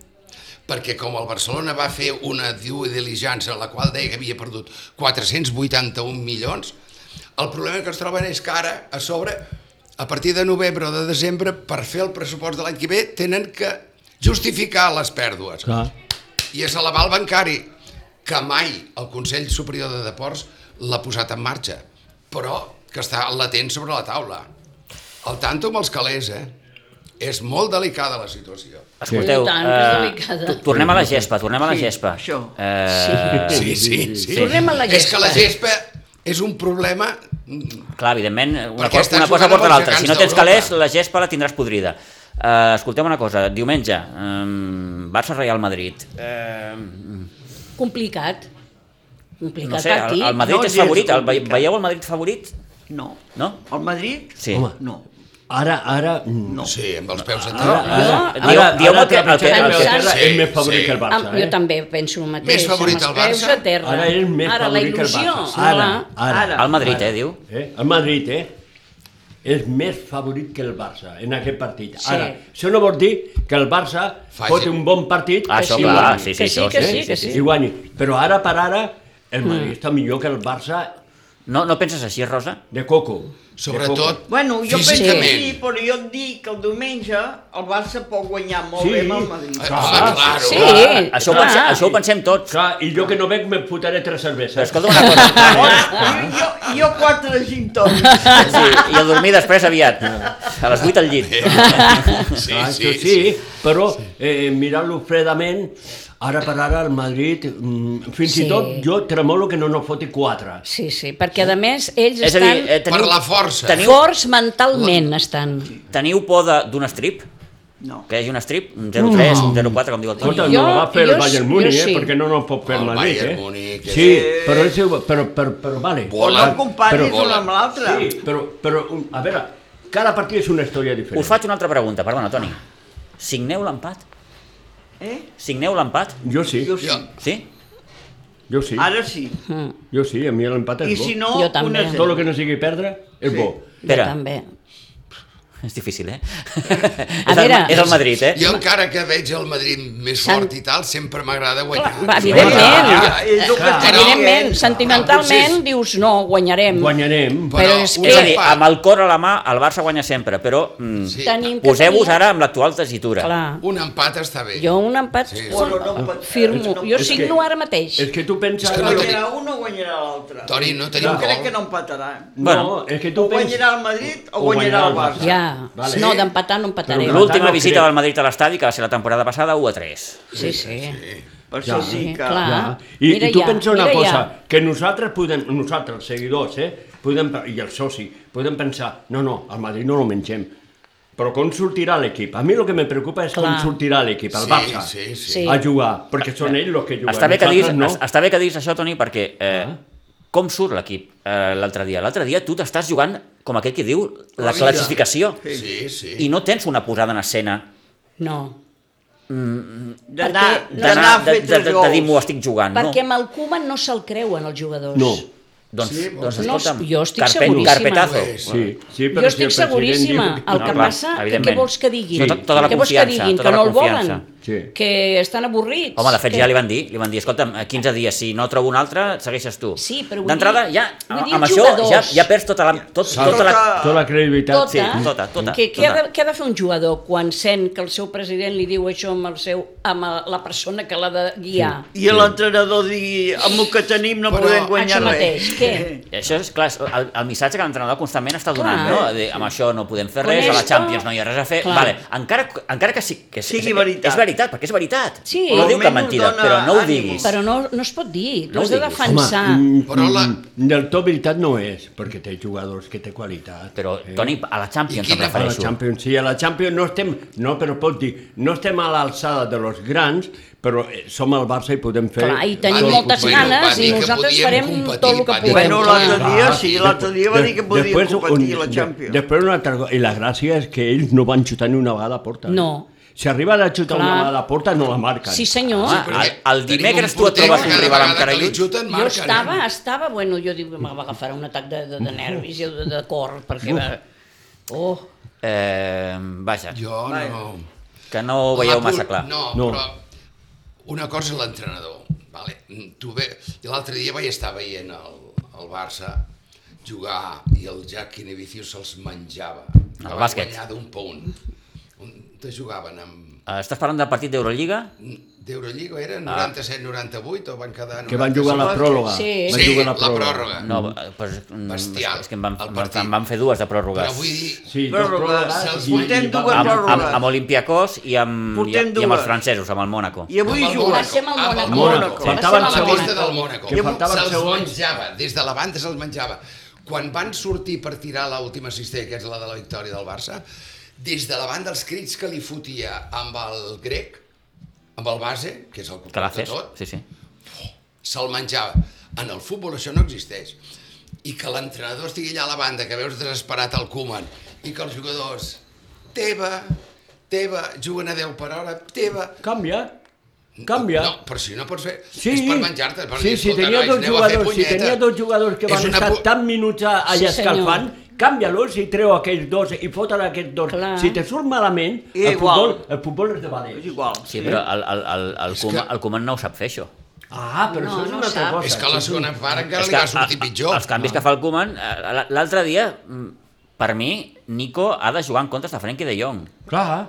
C: perquè com el Barcelona va fer una due diligència en la qual deia que havia perdut 481 milions, el problema que es troben és que ara, a sobre, a partir de novembre o de desembre, per fer el pressupost de l'any que ve, tenen que justificar les pèrdues
D: Clar.
C: i és elevar el bancari, que mai el Consell Superior de Deports l'ha posat en marxa, però que està latent sobre la taula. El tanto amb els calés, eh? És molt delicada la situació.
A: Escolteu,
E: I tant, que és delicada.
A: to- tornem a la gespa, tornem a la
B: Sí,
A: gespa.
B: això.
A: Eh,
C: Sí, sí, sí.
E: Tornem a la
C: És que la gespa és un problema...
A: Clar, evidentment, una,
C: Perquè
A: cosa,
C: estàs
A: una cosa
C: jugant
A: porta
C: amb els
A: l'altra. Si no
C: gegants
A: tens calés,
C: d'Europa.
A: la gespa la tindràs podrida. Uh, escolteu una cosa, diumenge, um, Barça-Real Madrid. Uh,
E: Complicat. Complicat
A: no sé, el,
E: partit.
A: el Madrid
B: No,
A: és
B: gens
A: favorit. El, ve-
B: complicat.
A: veieu el Madrid favorit?
B: No.
A: No?
B: El Madrid?
A: Sí.
D: Home.
B: No.
D: Ara, ara... No.
B: No.
C: Sí, amb els peus en
D: Ara,
C: terra.
D: ara,
A: Jo- dieu- dieu el que- el que-
D: trepitjar
E: el que-
D: terra
C: Sí,
D: és més favorit
C: sí.
D: que el Barça,
E: Am-
D: eh?
E: Jo també penso el mateix.
C: Més favorit
E: amb
C: el
E: els peus
C: Barça?
E: a terra.
D: Ara és més
E: Ara la
D: favorit que el
E: il·lusió.
D: Barça. Ara,
E: Ara.
D: ara.
B: Ara.
A: El Madrid, eh, diu.
D: Eh? El Madrid, eh? És més favorit que el Barça en aquest partit.
E: Sí.
D: Ara, això no vol dir que el Barça
C: Faci-
D: pot un bon partit
A: Ah, això,
D: i
A: clar,
D: guanyi.
A: sí, sí,
E: Que
A: això,
E: sí, que
A: sí,
E: sí, Mm. que
A: sí,
D: i guanyi. Però ara per ara, el Madrid està millor que el Barça
A: No, no penses així, Rosa?
D: de Coco. De
C: Sobretot
B: Bueno, jo penso que
C: físicament.
B: sí, però jo et dic que el diumenge el Barça pot guanyar molt
D: Sí.
B: bé amb el Madrid. Ah,
C: Eh,
D: Clar.
C: home, claro.
E: Sí.
A: Ah, això, ho
E: clar.
A: pensem, això ho pensem
D: Coco.
A: tots.
D: Clar, i jo que no bec me fotaré tres cerveses.
A: Però escolta una cosa.
B: Jo, jo, jo quatre gin tònics.
A: Sí, i a dormir després aviat. A les 8 al llit.
C: Sí,
D: Clar,
C: sí,
D: Ah, això
C: sí.
D: però eh, mirant-lo fredament, ara per ara el Madrid, mm, fins
E: Sí.
D: i tot jo tremolo que no no foti quatre.
E: Sí, sí, perquè a més ells
A: És a dir,
E: estan
A: eh,
C: Per
A: teniu,
C: la força.
A: teniu-
E: forts mentalment, estan.
A: teniu por de- d'un strip?
B: No.
A: Que hi hagi un strip? Un 0-3, un 0-4, com diu el
D: Escolta,
A: Toni.
D: no
E: Jo-
D: la va fer el
E: jo
D: Bayern
E: sí,
D: Múnich,
E: jo
D: eh?
E: sí.
D: perquè no no pot fer el
C: El
D: Madrid,
C: Bayern
D: eh?
C: Múnix,
D: sí, però, és, igual, però, però, però vale.
B: O
C: Volen.
B: no comparis
D: Però-
B: l'un amb l'altre.
D: Sí, però, però, un- a veure, cada partit és una història diferent.
A: Us faig una altra pregunta, perdona, Toni. Signeu l'empat?
B: Eh?
A: Signeu l'empat?
D: Jo sí,
B: Jo sí.
C: Jo,
A: Sí?
D: jo sí,
B: Ara sí.
E: Mm.
D: jo sí, a mi l'empat és
B: I
D: bo.
B: si no,
E: Jo també.
B: una
D: Tot
B: zero.
D: el que no sigui perdre és
B: Sí.
D: bo.
A: Espera.
E: Jo també.
A: És difícil, eh? és, el,
E: veure.
A: és el Madrid, eh?
C: jo encara que veig el Madrid més
E: Sant-
C: fort i tal, sempre m'agrada guanyar.
E: Va, evidentment.
C: Ah,
B: És el que
D: Clar.
B: té.
E: Evidentment,
B: Però-
E: sentimentalment
C: Potser-
E: dius no, guanyarem.
D: Guanyarem.
C: Però,
E: Però és
C: un
E: que-
A: És a dir,
C: empat.
A: amb el cor a la mà, el Barça guanya sempre, però mm,
C: Sí.
E: Tenim que
A: poseu-vos
E: tenir-
A: ara amb l'actual tessitura.
E: Clar.
C: Un empat està bé.
E: Jo un empat
C: Sí.
E: fort,
B: Bueno, no em pot-
E: firmo.
B: és-
E: Jo
D: és
E: signo
D: que-
E: ara mateix.
D: És que tu penses...
C: És que
B: No
C: no
D: no,
B: guanyarà un o guanyarà l'altre.
C: Toni, no tenim
B: Jo
C: gol.
B: crec que no empataran.
A: Bueno.
D: és que
B: O
D: tu penses...
B: guanyarà el Madrid o
D: O
B: guanyarà el
D: guanyarà el
B: Barça.
D: Barça.
E: Ja.
D: Vale.
E: No,
C: Sí.
E: d'empatar no empataré.
D: Però
A: L'última
D: no
A: visita
D: crec.
A: del Madrid a l'estadi, que va ser la temporada passada, 1 a 3.
E: Sí, sí.
B: Per això
D: Ja.
B: sí que...
E: Clar.
D: Ja. I,
E: Ah, Mira
D: I tu
E: ja,
D: pensa una
E: mira
D: cosa,
E: ja.
D: que nosaltres podem, nosaltres, els seguidors, eh, podem, pe- i els socis, podem pensar, no, no, al Madrid no lo mengem, però com sortirà l'equip? A mi el que me preocupa és com
E: Clar.
D: sortirà l'equip, el
C: Sí,
D: Barça,
C: sí, sí.
E: Sí.
D: a jugar, perquè són ells els que juguen.
A: Està bé que diguis,
D: nosaltres
A: es- està bé que diguis això, Toni, perquè eh,
D: Ah.
A: com surt l'equip eh, l'altre dia? L'altre dia tu t'estàs jugant, com aquell que diu, la
C: Sí.
A: classificació.
C: Sí, sí.
A: I no tens una posada en escena
E: No.
B: D'anar
E: Perquè-
B: d'anar
A: d'anar-
B: a
A: de, de,
B: fer
A: de,
B: tres
A: de,
B: gols.
A: dir m'ho estic jugant.
E: Perquè
A: no.
E: amb el Koeman no se'l creuen els jugadors.
D: No,
A: Doncs,
C: Sí,
A: doncs
E: no,
A: escolta'm,
E: jo estic seguríssima.
A: carpetazo.
C: Pues,
D: sí, sí,
E: Jo
D: però si
E: estic
D: el president
E: seguríssima.
D: diu
E: El
A: No,
E: que
A: clar,
E: passa, que què
A: evidentment.
E: vols que diguin?
A: Sí. Tota la
E: què vols que
A: confiança,
E: diguin?
A: tota
E: Que
A: la
E: no el volen?
A: confiança.
D: Sí.
E: que estan avorrits.
A: Home, de fet,
E: que...
A: ja li van dir, li van dir, escolta'm, a 15 dies, si no trobo un altre, segueixes tu.
E: Sí, però vull
A: D'entrada,
E: dir-
A: ja,
E: vull dir
A: amb
E: els
A: això, ja,
E: jugadors.
A: ja perds tota la... Tot,
C: Sí.
A: tota la...
B: Tota-
D: Tota la credibilitat.
E: Tota,
A: tota, tota,
E: que, que Ha
A: tota.
E: de, què ha de fer un jugador quan sent que el seu president li diu això amb, el seu, amb el- la persona que l'ha de guiar?
B: I l'entrenador digui, amb el que tenim no
C: Però-
B: podem guanyar
E: Això mateix,
B: res. Eh?
E: què?
A: Això és clar, és el, el missatge que l'entrenador constantment està donant,
E: Clar.
A: no? De, amb això no podem fer
E: Con
A: res, a la
E: esto-
A: Champions no hi ha res a fer.
E: Clar.
A: Vale, encara, encara que sí, que és,
B: Sigui
A: és,
B: veritat.
A: és veritat, perquè és veritat.
E: Sí.
A: No diu
B: Almenys
A: que mentida,
B: dona
A: però no ho
B: ànims.
A: diguis.
E: Però no, no es pot dir,
A: No
E: no has de
A: ho diguis.
E: defensar.
D: mm,
C: Però la-
D: mm, del tot veritat no és, perquè té jugadors que té qualitat.
A: Però,
D: eh?
A: Toni, a la Champions em
C: quina-
D: a la
A: refereixo.
D: Champions, sí, a la Champions no estem, no, però pot dir, no estem a l'alçada de los grans, però eh, som al Barça i podem fer...
E: Clar, i
C: Va
E: tenim
C: dir-
E: moltes
C: doncs bueno, va
E: ganes
C: dir
E: i
C: que
E: nosaltres
C: podíem
E: farem
C: competir,
E: tot el que
C: va dir.
E: podem.
B: Bueno, l'altre
E: clar.
B: dia sí, l'altre dia va
D: De-
B: dir que podia
D: després
B: competir
D: un-
B: la
D: de-
B: Champions.
D: Després una altra cosa, i la gràcia és que ells no van xutar ni una vegada a porta. eh?
E: No.
D: Si arriben a xutar
E: Clar.
D: una vegada a porta, no la marquen.
E: Sí, senyor.
A: Ah,
C: Perquè
A: el- el
C: tenim
A: dimecres
C: un
A: tu et
C: porter
A: trobes
C: que
A: un
C: cada
A: rival amb
C: vegada que li
A: caralluts.
C: xuten,
E: jo
C: marquen, eh?
E: estava, estava, bueno, jo dic, em va agafar un atac de, de, de nervis i de, de cor, perquè va... Oh,
A: Eh, vaja,
C: Jo no...
A: que no ho veieu
C: La
A: massa
C: cul-
A: clar.
C: No, no.
D: No.
C: però una cosa és l'entrenador. Vale? Mm, Tu ve... i L'altre dia vaig estar veient el, el Barça jugar i el Jack Inevicius se'ls menjava. Que van
A: bàsquet.
C: Guanyar d'un punt. On te jugaven amb...
A: Eh, Estàs parlant del partit d'Eurolliga?
C: D'Eurolliga era 97-98 o van quedar...
D: Ah. Que van jugar a la
C: 97?
D: pròloga.
E: Sí.
D: Van
C: Sí,
D: jugar a
C: la pròrroga.
A: No, eh, pues, mm,
C: Bestial,
A: és que en van,
C: el
A: en
C: partit.
A: van- en van fer dues de pròrrogues.
C: Però vull dir...
D: Sí, dos
B: Pròrroga.
D: pròrrogues
C: Se'ls
D: i-
B: portem
D: i va-
B: dues
A: amb,
B: pròrrogues.
A: amb, amb Olympiacos i amb, i,
B: Portem
A: i amb els
B: dues.
A: francesos, amb el Mònaco.
B: I avui
C: Amb el
B: juga.
E: va ser amb el
C: Ah,
E: Mónaco.
B: amb el Mónaco.
E: Va ser
D: Faltava
E: amb
C: a
E: el
C: la
D: segon.
C: pista
E: Mónaco.
C: del Mónaco.
D: Que faltava el
C: Se'ls
D: segon.
C: menjava, des de la banda se'ls menjava. Quan van sortir per tirar l'última cistella, que és la de la victòria del Barça, des de la banda els crits que li fotia amb el grec, amb el base, que és el que
A: Que la
C: porta
A: fes?
C: tot,
A: Sí, sí.
C: se'l menjava. En el futbol això no existeix. I que l'entrenador estigui allà a la banda, que veus desesperat el Koeman, i que els jugadors, teva, teva, juguen a 10 per hora, teva,
D: Canvia. Canvia.
C: no, però si no pots fer...
D: Sí,
C: és per menjar-te. Per
D: sí,
C: dir,
D: si
C: escolta,
D: tenia
C: nois,
D: dos
C: aneu a fer
D: jugadors, si
C: punyeta.
D: tenia dos jugadors que
C: És
D: van
C: una
D: estar
C: pu-
D: tant minuts a- allà
E: Sí, senyor.
D: escalfant, canvia-los i treu aquells dos i foten aquests dos.
E: Clar.
D: Si te surt malament,
B: I
D: el
B: igual.
D: futbol, el futbol és de valents.
B: És igual.
A: Sí, però el, el, el, el, Koeman-
C: que-
A: el Koeman no ho sap fer, això.
D: Ah, però
E: No,
D: això és
E: no
D: una altra
E: sap.
D: cosa.
C: És que a la
D: Sí, sí.
C: segona part encara
A: És
C: li va
A: a-
C: sortir
A: a-
C: pitjor. Ah.
A: Els canvis que fa el Koeman... eh, l- L'altre dia, mm, per mi, Nico ha de jugar en comptes de Frenkie de Jong.
D: Clar.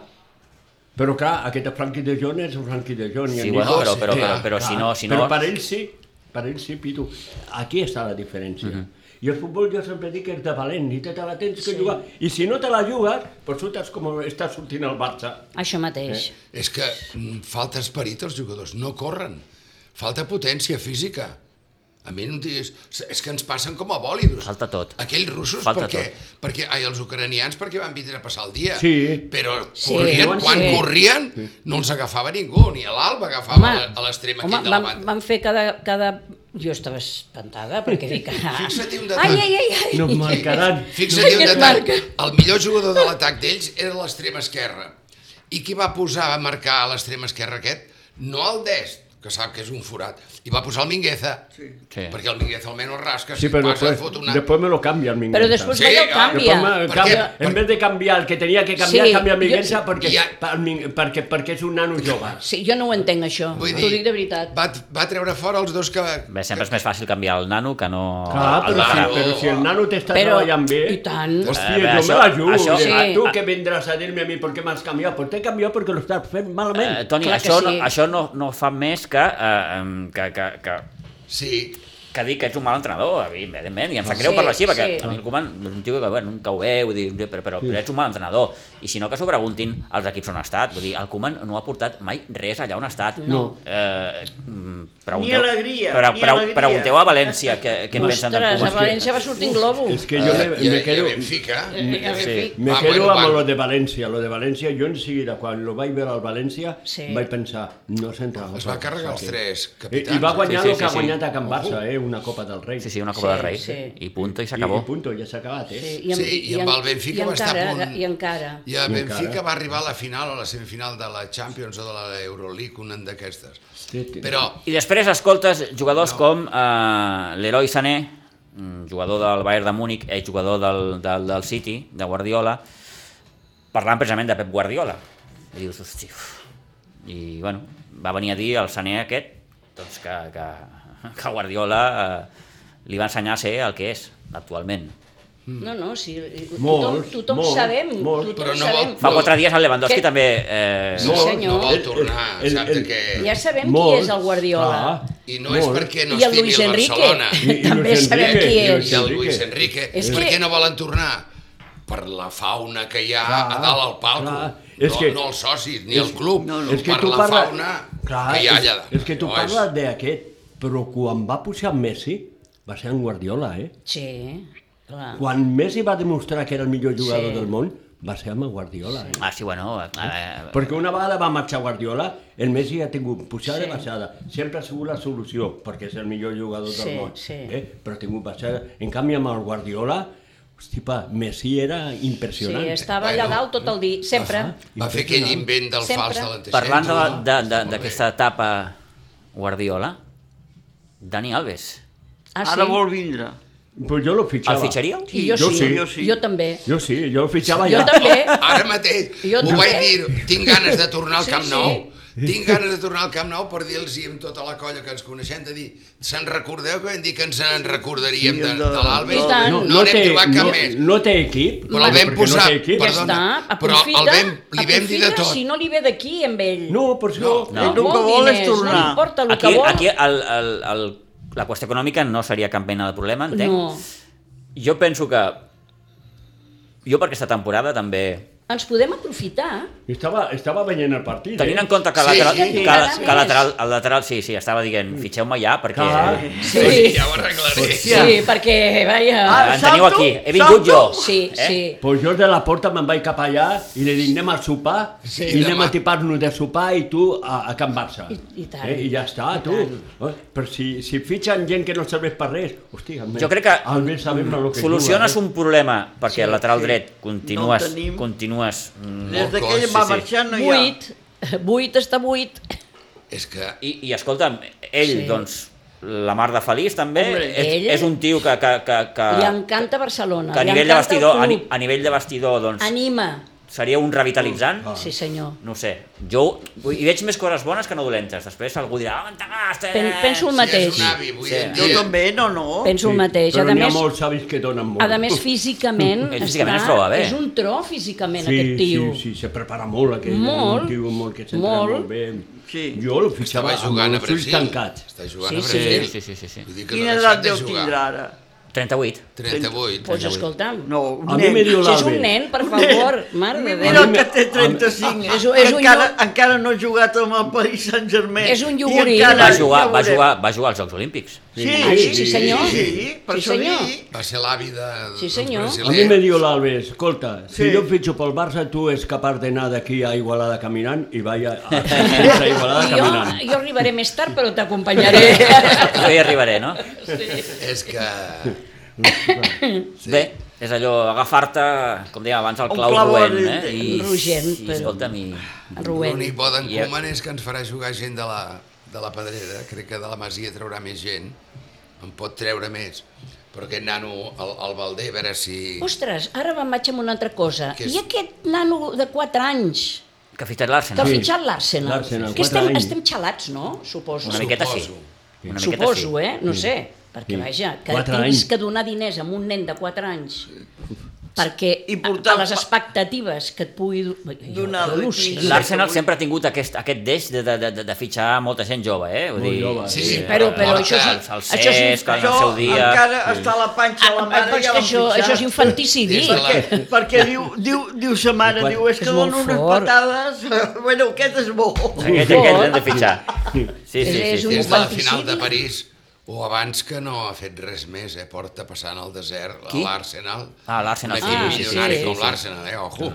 D: Però clar, aquest Frankie de Jong és un Frankie de Jong. i
A: Sí,
D: en
A: bueno,
D: Nico-
A: però- però-
D: Sí,
A: però- però
D: clar.
A: si no- si no-
D: Però per ell sí, per ell sí, Pitu. Aquí està la diferència.
A: Mhm.
D: I el futbol jo sempre dic que és de valent, i te, te la tens que
E: Sí.
D: jugar. I si no te la jugues, doncs surtes com està sortint el Barça.
E: Això mateix.
C: És que mm, falta esperit als jugadors, no corren. Falta potència física. A mi no em diguis... És que ens passen com a bòlidos.
A: Falta tot.
C: Aquells russos
A: Falta
C: perquè,
A: tot.
C: perquè... Ai, els ucranians perquè van vindre a passar el dia.
D: Sí.
C: Però
E: Sí.
C: corrien, quan
E: Sí.
C: corrien, no els agafava ningú, ni a l'alba agafava
E: Home,
C: home, a l'extrem
E: home,
C: aquell de la
E: van,
C: banda.
E: van fer cada, cada... Jo estava espantada perquè dic... Ah,
C: Fixa-t'hi un
E: ai,
C: detall.
E: ai, ai, ai.
D: No em marcaran.
C: Fixa't un
E: Ai, que
C: detall,
E: marca.
C: el millor jugador de l'atac d'ells era l'extrema esquerra. I qui va posar a marcar a l'extrema esquerra aquest? No el Dest, que sap que és un forat, i va posar el Mingueza, sí.
A: Sí.
C: perquè el Mingueza almenys rasca,
D: Sí, però
C: si passa,
D: després,
C: et fot una...
D: després me lo canvia el Mingueza.
E: Però després
C: Sí,
E: sí, el
C: ah,
E: canvi.
D: Després me-
C: Per
D: canvia,
C: què?
D: en vez de canviar el que tenia que canviar,
E: Sí,
D: canvia el
E: jo-
D: Mingueza perquè,
C: Ja.
D: pel Min- perquè, perquè és un nano jove.
E: Sí, jo no ho entenc, això. T'ho
C: Vull
E: dic de veritat.
C: Va, va treure fora els dos que...
A: Bé, sempre és més fàcil canviar el nano que no... el
D: Clar, Ah, però, si,
A: Barra.
D: però si el nano t'està
E: Però-
D: treballant bé...
E: i tant.
D: Hòstia,
A: Eh, bé,
D: jo
A: això-
D: me la jugo.
A: això-
D: eh?
E: Sí.
D: Tu que vendràs a dir-me a mi per què m'has canviat? Pues t'he canviat perquè lo estàs fent malament.
A: Eh, Toni,
E: Clar que
A: això,
E: sí.
A: no, això no, no fa més que, eh, em, que, que, que,
C: Sí,
A: que dir que ets un mal entrenador, evidentment, i em sap greu
E: Sí,
A: per la xiva, que
E: sí.
A: a mi el Koeman és un tio que, bueno, que ho veu, dir, però, però, però ets un mal entrenador. I si no, que s'ho preguntin als equips on ha estat. Vull dir, el Koeman no ha portat mai res allà on ha estat.
D: No.
A: Eh, mm,
B: Ni alegria,
A: pre
B: ni
A: pre
B: alegria.
A: Pregunteu a València què, què en pensen del
E: Ostres, a
A: Koeman.
E: València va sortir en globo.
D: És que jo
C: Ah,
D: me,
C: i-
D: me
C: i
D: quedo...
C: a Benfica.
E: Eh, eh,
A: Sí.
D: Me
C: Ah,
D: ah, quedo
C: bueno,
D: bueno, amb
C: va.
D: lo de València. Lo de València, jo en seguida, quan lo vaig veure al València,
E: Sí.
D: sí. vaig pensar, no s'entra.
C: Es va carregar els tres
D: I,
C: capitans. eh?
D: I va guanyar
A: Sí,
D: sí,
A: sí,
D: sí, el que
A: sí,
D: ha
A: sí.
D: guanyat a Can Barça, eh? una Copa del Rei.
A: Sí, sí, una Copa
E: Sí,
A: del Rei.
E: sí.
A: I punto, i
D: I,
A: s'acabó.
D: i punto, ja s'ha acabat, eh? Sí.
E: en-
C: Sí, i amb
E: en-
C: el Benfica
E: i
C: va estar a
E: encara-
C: punt.
E: I encara.
C: I a
D: I
C: Benfica
D: encara.
C: va arribar a la final o a la semifinal de la Champions o de la Euroleague, una d'aquestes.
D: sí.
C: Però
A: I després escoltes jugadors
C: No.
A: no. com eh, l'Heroi Sané, mm, jugador del Bayern de Múnich, eh, jugador del, del, del City, de Guardiola, parlant precisament de Pep Guardiola. I dius, hosti, uf, I, bueno, va venir a dir al Sané aquest doncs que, que, que Guardiola eh, li va ensenyar a ser el que és actualment.
E: No, no, sí,
D: Molts,
E: tothom, tothom
D: molts,
E: sabem,
D: molts,
E: tothom
C: però no vol-
E: sabem.
A: Fa
C: No.
A: quatre dies el Lewandowski
E: Què?
A: també... Eh,
E: Sí, senyor.
C: no vol
D: El-
C: tornar,
D: el-
C: sap
D: el-
C: que...
E: Ja sabem
D: Molts,
E: qui és el Guardiola.
D: clar.
C: I no és
D: Molt.
C: perquè no
E: I el
C: estimi
E: Luis
C: el
E: Enrique,
C: Barcelona.
D: I- i
E: també
D: Luis
E: sabem
D: Enrique,
E: qui
D: i
E: és.
C: I el
D: Enrique.
C: Luis Enrique.
E: És
C: per
E: que-
C: què no volen tornar? Per la fauna que hi ha a
D: Clar,
C: dalt al palco.
D: clar.
C: No,
D: És que-
C: no els socis, ni el club.
B: no, no.
C: És per la
D: parla-
C: fauna
D: Clar,
C: que hi ha
D: és,
C: allà dalt.
D: És que tu
C: No, és-
D: parles d'aquest, però quan va pujar Messi, va ser en Guardiola, eh?
E: Sí, clar.
D: Quan Messi va demostrar que era el millor jugador
E: Sí.
D: del món, va ser amb el Guardiola, eh?
A: Ah, sí, bueno... Eh,
D: Perquè una vegada va marxar Guardiola, el Messi ha tingut pujada i baixada. Sempre ha sigut la solució, perquè és el millor jugador
E: Sí,
D: del món.
E: sí.
D: Eh? Però ha tingut baixada. En canvi, amb el Guardiola, hosti, pa, Messi era
E: Sí,
D: impressionant.
E: estava allà
C: Bueno.
E: dalt tot el dia, sempre.
C: Va fer aquell invent del
E: Sempre.
C: fals de l'antecentro.
A: Parlant de- de- de-
C: Molt bé.
A: d'aquesta etapa Guardiola, Dani Alves,
E: Ah,
B: Ara
E: sí?
B: vol vindre.
D: Pues jo lo
A: el
D: fitxava.
A: fitxaríeu?
E: I jo,
D: Jo
E: sí,
D: sí.
E: jo sí, jo també.
D: Jo sí, jo el fitxava
E: Jo
D: ja.
E: també.
C: Ara mateix,
E: Jo
C: ho
E: també.
C: vaig dir, tinc ganes de tornar al
E: Sí,
C: Camp
E: sí.
C: Nou. Tinc ganes de tornar al Camp Nou per dir-los amb tota la colla que ens coneixem, de dir, se'n recordeu que vam dir que ens en recordaríem
B: Sí,
C: de,
B: de-
C: de l'Alves?
E: I tant.
C: No,
E: No,
C: no n'hem trobat cap
D: no,
C: més.
D: no té equip.
C: Però el
D: perquè
C: vam posar,
D: No té equip.
E: Ja
C: Perdona,
E: està,
C: però el
E: aprofita,
C: vam- li vam dir de
E: aprofita,
C: tot.
E: si no li ve d'aquí amb ell.
D: No, per
A: No.
D: això...
E: No eh?
B: El que vol és tornar.
E: No li importa el
A: Aquí,
E: que vol.
A: aquí el, el, el, la qüestió econòmica no seria cap mena de problema, entenc.
E: no.
A: Jo penso que... Jo per aquesta temporada també...
E: Ens podem aprofitar.
D: Estava, estava veient el partit. eh?
A: Tenint en compte que,
C: Sí,
A: lateral,
C: sí.
A: que, la-
E: Sí.
A: que lateral, el lateral, sí, sí, estava dient, fitxeu-me ja perquè... eh,
D: Clar.
E: Sí,
C: Oi, ja ho arreglaré.
E: sí, perquè, vaja...
B: Ah,
A: Em teniu
B: salto,
A: aquí, he vingut jo.
B: salto.
E: sí,
A: eh?
E: sí.
D: Pues jo de la porta me'n vaig cap allà i li dic anem a sopar
C: Sí,
D: i anem
C: demà.
D: a tipar-nos de sopar i tu a, a Can Barça.
E: I- i tant.
D: Eh? I ja està,
E: I
D: tu. Eh? Però si, si fitxen gent que no serveix per res, hosti, almenys,
A: Jo crec que
D: almenys sabem el que eh?
A: Soluciones
D: juga,
A: un problema perquè el lateral dret continues...
B: No el tenim.
A: continues mm,
B: Des
C: Molt
B: que
C: coix,
B: ell
C: sí,
B: va
A: sí.
B: marxar no hi ha.
E: Buit, buit està buit.
C: És que
A: I, I escolta'm, ell,
E: Sí.
A: doncs, la mar de feliç també,
E: Hombre,
A: és,
E: ell-
A: és un tio que, que, que, que,
E: Li encanta Barcelona.
A: Ah. que a
E: li
A: nivell de
E: encanta el
A: vestidor, a, ni,
E: club.
A: a nivell de vestidor doncs,
E: Anima.
A: seria un revitalitzant.
E: Sí, senyor.
A: No ho sé, jo vull- hi veig més coses bones que no dolentes. Després algú dirà, "Ah, eh!" on t'agaste?
E: Pen, penso
C: ja és
E: el mateix.
C: un avi, avui
A: Sí.
C: en
B: Jo
C: dia.
B: també, no, no.
A: Oh,
E: Penso el mateix.
D: eh? Però
E: A
D: n'hi ha
E: més,
D: molts savis que donen molt.
E: a més físicament,
A: Ell físicament
E: està,
A: es troba bé.
E: és un tro físicament,
D: sí,
E: aquest tio.
D: Sí, sí, se prepara molt aquest
E: Molt,
D: un tio molt que s'entra
E: molt.
D: molt. molt bé.
B: Sí.
D: Jo el
C: Estava
D: fitxava amb
C: jugant a
D: els ulls
C: Brasil.
D: tancats.
C: Està jugant
E: Sí,
C: a
E: sí.
C: Brasil.
A: Sí, sí, sí, sí.
C: Vull dir que no
B: Quina
C: ha
B: edat
C: deixat de
B: deu
C: jugar.
B: tindrà ara?
A: 38.
C: 38.
E: Doncs escolta'm,
B: No, un
D: A mi
B: nen.
D: me diu
E: si és un
D: l'Albert.
E: nen, per favor, mare de
B: Mira
E: Déu.
B: el
D: mi-
B: que té
D: a mi-
B: 35,
E: És un- és un
B: encara,
E: lloc-
B: encara no ha jugat amb el Paris Saint-Germain.
E: És un
B: I
E: llogorí.
B: encara-
A: Va
E: Ara,
A: jugar,
B: ja
A: va
B: veurem.
A: jugar, va jugar als Jocs Olímpics.
B: Sí,
E: Ah, sí, sí, senyor.
B: Sí, per
E: Sí,
B: això
E: senyor.
B: dic.
C: Va ser l'avi de,
E: Sí, senyor.
C: dels
D: A mi me
C: brasilers.
D: diu l'Albes, escolta, sí.
B: Sí.
D: si jo fitxo pel Barça, tu és capaç d'anar d'aquí a Igualada caminant i vaig a, a, a Igualada
E: I jo,
D: caminant.
E: jo arribaré més tard, però t'acompanyaré.
A: Jo hi arribaré, no?
C: És que...
A: Sí. Bé, és allò, agafar-te, com dèiem abans, el
B: Un
A: clau
B: clau
A: roent,
B: roent,
A: eh? I,
E: rogent,
A: i,
E: però-
A: escolta'm, i...
E: Rubén.
C: L'únic bo d'en
A: I-
C: Koeman és que ens farà jugar gent de la, de la Pedrera. Crec que de la Masia traurà més gent. En pot treure més. Però aquest nano, el, el Valdé, a veure si...
E: Ostres, ara me'n vaig amb una altra cosa.
C: Què és?
E: I aquest nano de 4 anys
A: Que ha fitxat
E: que ha
A: l'Arsenal.
D: Sí.
E: fitxat l'Arsenal?
D: L'Arsenal,
E: Que estem,
D: quatre anys.
E: estem xalats, no? Suposo.
A: Una miqueta sí.
C: Suposo.
A: Una miqueta
E: Suposo,
A: sí.
E: eh? No sé. Perquè,
D: Sí.
E: vaja, que
D: Quatre
E: tinguis
D: anys.
E: que donar diners a un nen de 4 anys perquè
B: I
E: I
B: portar-
E: a les expectatives que et pugui do- jo
B: Donar-li.
E: al·lucino.
B: La-
A: L'Arsenal sempre ha tingut aquest, aquest deix de, de, de, de fitxar molta gent jove, eh? Vull
D: Molt jove,
C: sí. Sí,
E: però- però
A: el-
E: això és-
A: el- El
E: això és un-
A: Cesc, en
B: Això
A: el seu dia...
B: encara està a la panxa de la
E: Ah, però
B: mare
E: és
B: ja
E: que
B: l'han
E: això,
B: fitxat.
E: això és infanticidi.
C: Des de la-
B: Què? Perquè diu, diu, diu sa mare,
D: Quan-
B: diu, és que
E: és molt
B: dono unes
E: fort.
B: patades, bueno, aquest és bo.
A: Aquest,
E: Uf.
A: aquest l'hem de fitxar. Sí,
E: És-
A: sí, sí.
E: és
A: sí.
E: un
C: Des de la
E: infanticidi.
C: final de París o abans que no ha fet res més, eh? Porta passant al desert a
A: Qui?
C: l'Arsenal.
A: Ah, l'Arsenal,
C: Un
A: sí,
C: equip
E: sí,
C: milionari
E: sí,
C: com
E: sí.
C: l'Arsenal, eh? Ojo.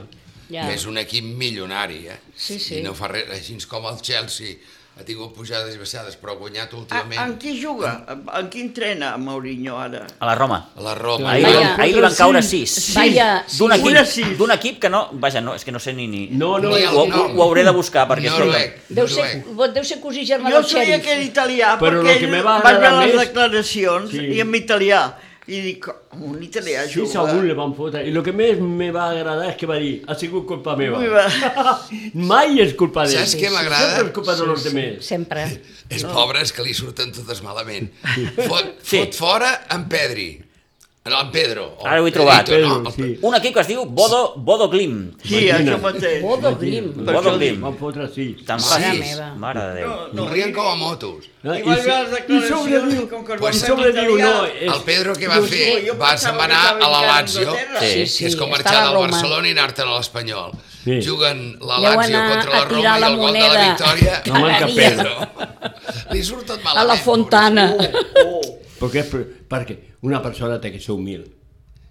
E: Ja.
C: Que és un equip milionari, eh?
E: Sí, sí.
C: I no fa res, així com el Chelsea ha tingut pujades i baixades, però ha guanyat
B: A- En
C: últimament
B: qui juga? En qui entrena Mourinho ara?
A: A la Roma.
C: a la Roma.
A: Ahir,
E: Vaya.
A: van, ahir li van caure sis.
E: Vaya,
A: D'un
B: sí. Una
A: equip,
B: sis.
A: d'un equip que no... Vaja, no, és que no sé ni... ni...
D: No, no,
C: Ni el
A: ho, ho,
C: nom.
A: ho hauré de buscar, perquè...
C: Noruec.
A: escolta'm,
E: Deu ser,
C: Noruec.
E: deu ser cosí germà
B: Jo
E: del
B: sabia
E: xèrif.
B: que era italià, perquè
D: Però lo que
B: ell
D: me va
B: vaig
D: agradar
B: veure les
D: més-
B: declaracions
D: Sí.
B: i en italià. I dic, com un italià
D: Sí, segur li van fotre. I el que més me va agradar és que va dir ha sigut culpa meva.
B: Ui, va.
D: Mai és culpa d'ell.
C: Saps què m'agrada?
D: Sempre és culpa dels altres.
E: Sempre.
C: És pobre, és que li surten totes malament. Fot, fot fora en Pedri. En el Pedro. o
A: Ara ho he
C: Pedrito,
A: trobat.
D: Pedro,
C: el
D: sí.
A: Un equip que es diu Bodo, Bodo Glim.
B: Sí,
D: Imagina't.
B: això mateix.
E: Bodo Glim.
A: Per això el dic.
D: Van fotre sis.
A: Tan
C: Sí.
A: fàcil.
E: Mare
A: Mare de Déu.
B: No, no,
C: Corrien com a motos.
D: No,
B: I va
D: so-
B: veure les declaracions,
D: sobre diu,
B: com que el
D: i
C: van
D: sobre
B: matar
D: diu, no,
B: italià.
D: és,
C: El Pedro què
E: Doncs
C: va fer?
B: jo
C: Va,
B: pensava
C: se'n
B: que
C: va anar
B: estava
C: a
B: encara
C: la
B: a
C: Lazio,
B: Anglaterra.
A: Sí,
C: que
A: sí,
C: és com
E: estava
C: marxar del
E: a Roma.
C: Barcelona i anar-te'n a l'Espanyol.
D: Sí.
C: Juguen la
E: Vau
C: Lazio
E: anar
C: contra la
E: a
C: Roma
E: tirar
C: i
E: la
C: el gol de la
E: moneda
C: victòria.
D: No manca cada dia. Pedro.
C: Li surt tot
E: A
C: malament.
E: la Fontana.
B: Oh,
D: perquè, és per- perquè una persona té que ser humil.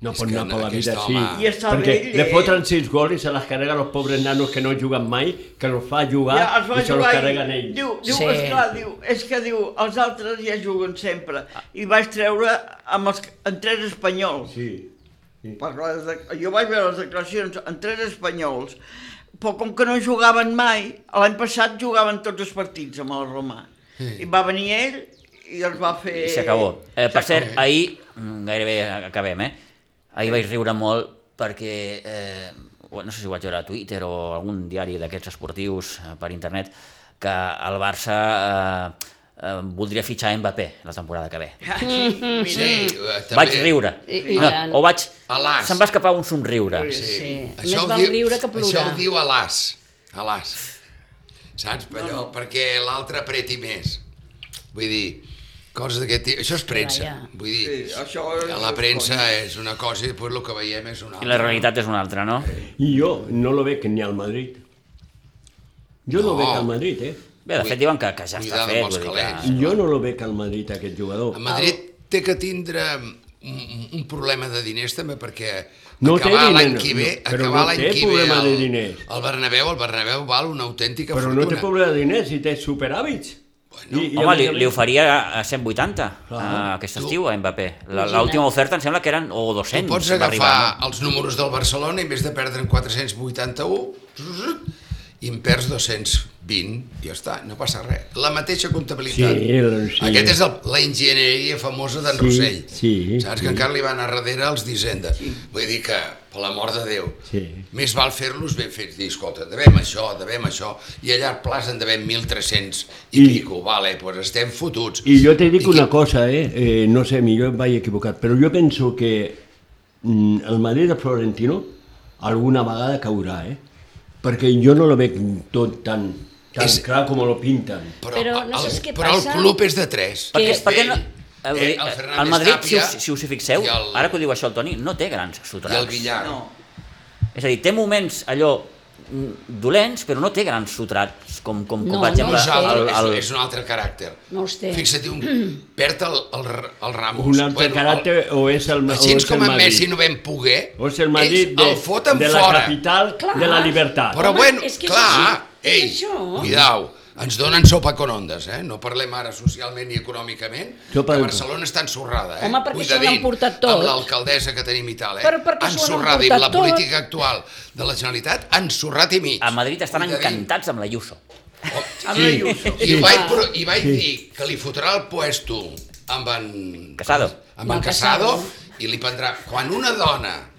D: No
C: És
D: pot
C: que
D: anar per la
C: aquest
D: vida així.
C: home-
B: I està
D: perquè
B: vell,
D: li
B: eh?
D: fotran sis gols i se les carrega els pobres nanos que no juguen mai, que els fa jugar
B: ja es va
D: i se
B: jugar
D: los
B: i
D: carreguen ells.
B: diu, diu,
E: Sí.
B: sí. esclar, diu, és que diu, els altres ja juguen sempre. I vaig treure amb els, en tres espanyols.
D: Sí.
B: Per les de- jo vaig veure les declaracions en tres espanyols, però com que no jugaven mai, l'any passat jugaven tots els partits amb el Romà. Sí. I va venir ell i els va fer...
A: I s'acabó. Eh, per cert, ahir, mm, gairebé acabem, eh? Ahir vaig riure molt perquè, eh, bueno, no sé si ho vaig veure a Twitter o algun diari d'aquests esportius eh, per internet, que el Barça eh, eh, voldria fitxar Mbappé la temporada que ve.
B: Ah,
C: Sí, eh, també.
A: Mm. Vaig riure.
E: I- i
A: No,
E: tant.
A: o vaig...
C: Alas.
A: Se'm va escapar un somriure.
B: Sí.
C: Sí.
E: Sí.
C: Eh, Això
E: Més
C: ho
E: val
C: diu-
E: riure que
C: Això
E: plorar.
C: ho diu a l'as. A l'as. Saps? Per allò, Perquè l'altre apreti més. Vull dir, coses d'aquest tipus. Això és premsa.
E: Ja, ja.
C: Vull dir,
B: Sí, això és-
C: la premsa és una cosa i després el que veiem és una
A: I
C: altra.
A: la realitat és una altra, no?
D: I jo no lo veig ni al Madrid. Jo
C: No.
D: no, no veig al Madrid, eh?
A: Bé, de fet diuen que, que ja està
C: Cuidado amb
A: fet.
C: els
A: vull dir
C: calents.
A: que-
D: Jo no lo veig al Madrid, aquest jugador.
C: A Madrid té que tindre un, un problema de diners també perquè
D: No té
C: acabar l'any
D: diner,
C: que
D: no,
C: ve,
D: no, però
C: acabar
D: no
C: l'any
D: té
C: que ve
D: problema
C: el,
D: de diners.
C: el Bernabéu, el Bernabéu val una autèntica
D: Però no
C: fortuna.
D: té problema de diners, si té superàvits. Bueno,
A: Home, li, li oferia a 180 uh,
D: Clar.
A: aquest estiu a Mbappé. La- L'última oferta em sembla que eren o 200.
C: Pots
A: va
C: agafar
A: arribar, no?
C: els números del Barcelona i en vez de perdre en 481 i en perds 220 ja està, no passa res la mateixa comptabilitat
D: Sí, el- sí.
C: aquest és el, la enginyeria famosa d'en
D: Sí,
C: Rossell
D: sí,
C: saps
D: sí.
C: que encara li van a darrere els d'Hisenda vull dir que, per l'amor de Déu
D: Sí.
C: més val fer-los ben fets dir, escolta, devem això, devem això i a llarg plaç en devem 1.300 i, I
D: I-
C: pico, vale, doncs estem fotuts
D: I jo te dic
C: que-
D: una cosa, eh? eh no sé, millor em vaig equivocat, però jo penso que mm, el Madrid de Florentino alguna vegada caurà, eh? Perquè jo no lo veig tot tan, tan
C: És-
D: és... clar com lo pinten.
E: Però no saps
C: el-
E: què
C: però
E: passa?
C: el club és de 3.
A: Perquè,
E: que-
A: perquè no,
C: Eh,
A: eh, vull dir,
C: el
A: eh,
C: Fernández
A: el Madrid, si
C: Tapia
A: us, si us hi fixeu,
C: i el-
A: ara que ho diu això el Toni, no té grans
C: I el
A: sotracs.
C: Villar.
B: No,
A: És a dir, té moments allò mm, dolents, però no té grans sotracs, com, com, com
E: No,
A: per
E: no
A: exemple...
C: És,
E: els
A: el,
C: altre,
A: el,
C: és, és un altre caràcter.
E: No els té.
C: Fixa't, un, perd el, el, el Ramos.
D: Un altre bueno, caràcter
C: el-
D: o és el, o
C: Així
D: és el
C: com en
D: Madrid.
C: Messi no vam poder,
D: O és el Madrid de,
C: el foten
D: de la
C: fora.
D: capital
E: Clar.
D: de la
A: Ah.
D: libertat.
C: Però
E: Home,
C: bueno,
E: és que és
C: clar,
E: així,
C: ei,
E: és això.
C: cuidao, ens donen sopa con ondes, eh? No parlem ara socialment ni econòmicament,
D: Sopa
C: que
D: de-
C: Barcelona està ensorrada, eh?
E: Home, perquè s'ho han
C: Cuidadín
E: emportat tot.
C: Amb l'alcaldessa que tenim i tal, eh?
E: Però perquè s'ho han
C: ensorrada, i
E: emportat
C: la
E: tot.
C: política actual de la Generalitat ha ensorrat i mig.
A: a Madrid estan
C: Cuidadín.
A: encantats amb la Yuso.
B: amb la Ayuso.
C: I vaig, però, i vaig dir que li fotrà el puesto amb en...
A: Casado.
C: Amb en
E: Amb
C: Casado,
E: Casado.
C: i li prendrà... Quan una dona...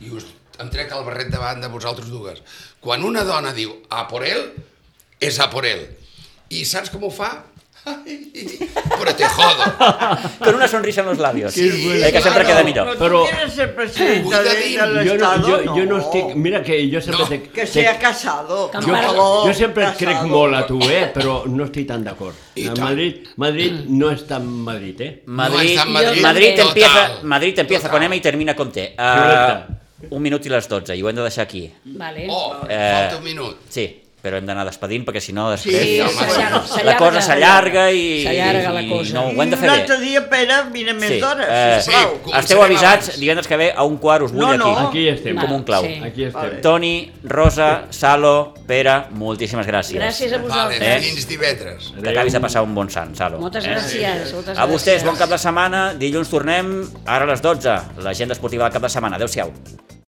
C: I us em trec el barret davant de vosaltres dues. Quan una dona diu a por él, és a por él. I saps com ho fa? Però te jodo.
A: Con una sonrisa en los labios.
D: Que és bueno.
A: eh, que sempre
C: Claro.
A: queda millor.
B: Però,
D: Però-
B: però tu quieres ser presidenta de,
C: Cuidadín.
B: de
D: jo, no,
B: l'Estado?
D: jo, jo no estic... Mira que jo sempre...
C: No,
D: te-
B: Que
D: te-
B: sea casado.
E: Que
B: per
D: Jo,
E: Mare-
B: favor,
D: jo sempre et crec
B: casado.
D: molt a tu, eh? però no estic tan d'acord.
C: I
D: A
C: tant.
D: Madrid, Madrid no és tan Madrid, eh?
A: Madrid,
C: No, está en Madrid.
A: Madrid
E: Total.
A: empieza, Madrid empieza
C: Total.
A: con M y termina con T. Ah,
D: Correcte.
A: un minut i les 12, i ho hem de deixar aquí.
E: Vale.
C: Oh,
A: Eh.
C: falta un minut.
A: Sí, però hem d'anar despedint perquè si no després
E: Sí,
B: Eh, home,
E: s'allarga.
A: la
E: s'allarga.
A: cosa s'allarga i,
E: S'allarga la
A: i
E: cosa.
A: no ho hem de
B: I
A: fer
B: un altre
A: bé.
B: dia, Pere, vine més
A: Sí,
B: d'hores,
A: eh,
B: sisplau.
C: sí, com-
A: Esteu
C: Començarem
A: avisats,
C: abans.
A: divendres que ve a un quart us vull
B: No, no.
A: aquí.
D: Aquí estem.
A: Com un clau.
E: Sí.
D: Aquí estem.
B: Vale.
A: Toni, Rosa, Salo, Pere, moltíssimes gràcies.
E: Gràcies a
C: Vale,
E: vosaltres.
A: Eh.
C: fins divendres.
A: Que acabis de passar un bon sant, Salo. Eh?
E: Moltes gràcies. Moltes
A: A vostès,
E: gràcies.
A: bon cap de setmana. Dilluns tornem, ara a les 12, l'agenda esportiva del cap de setmana. Adéu-siau.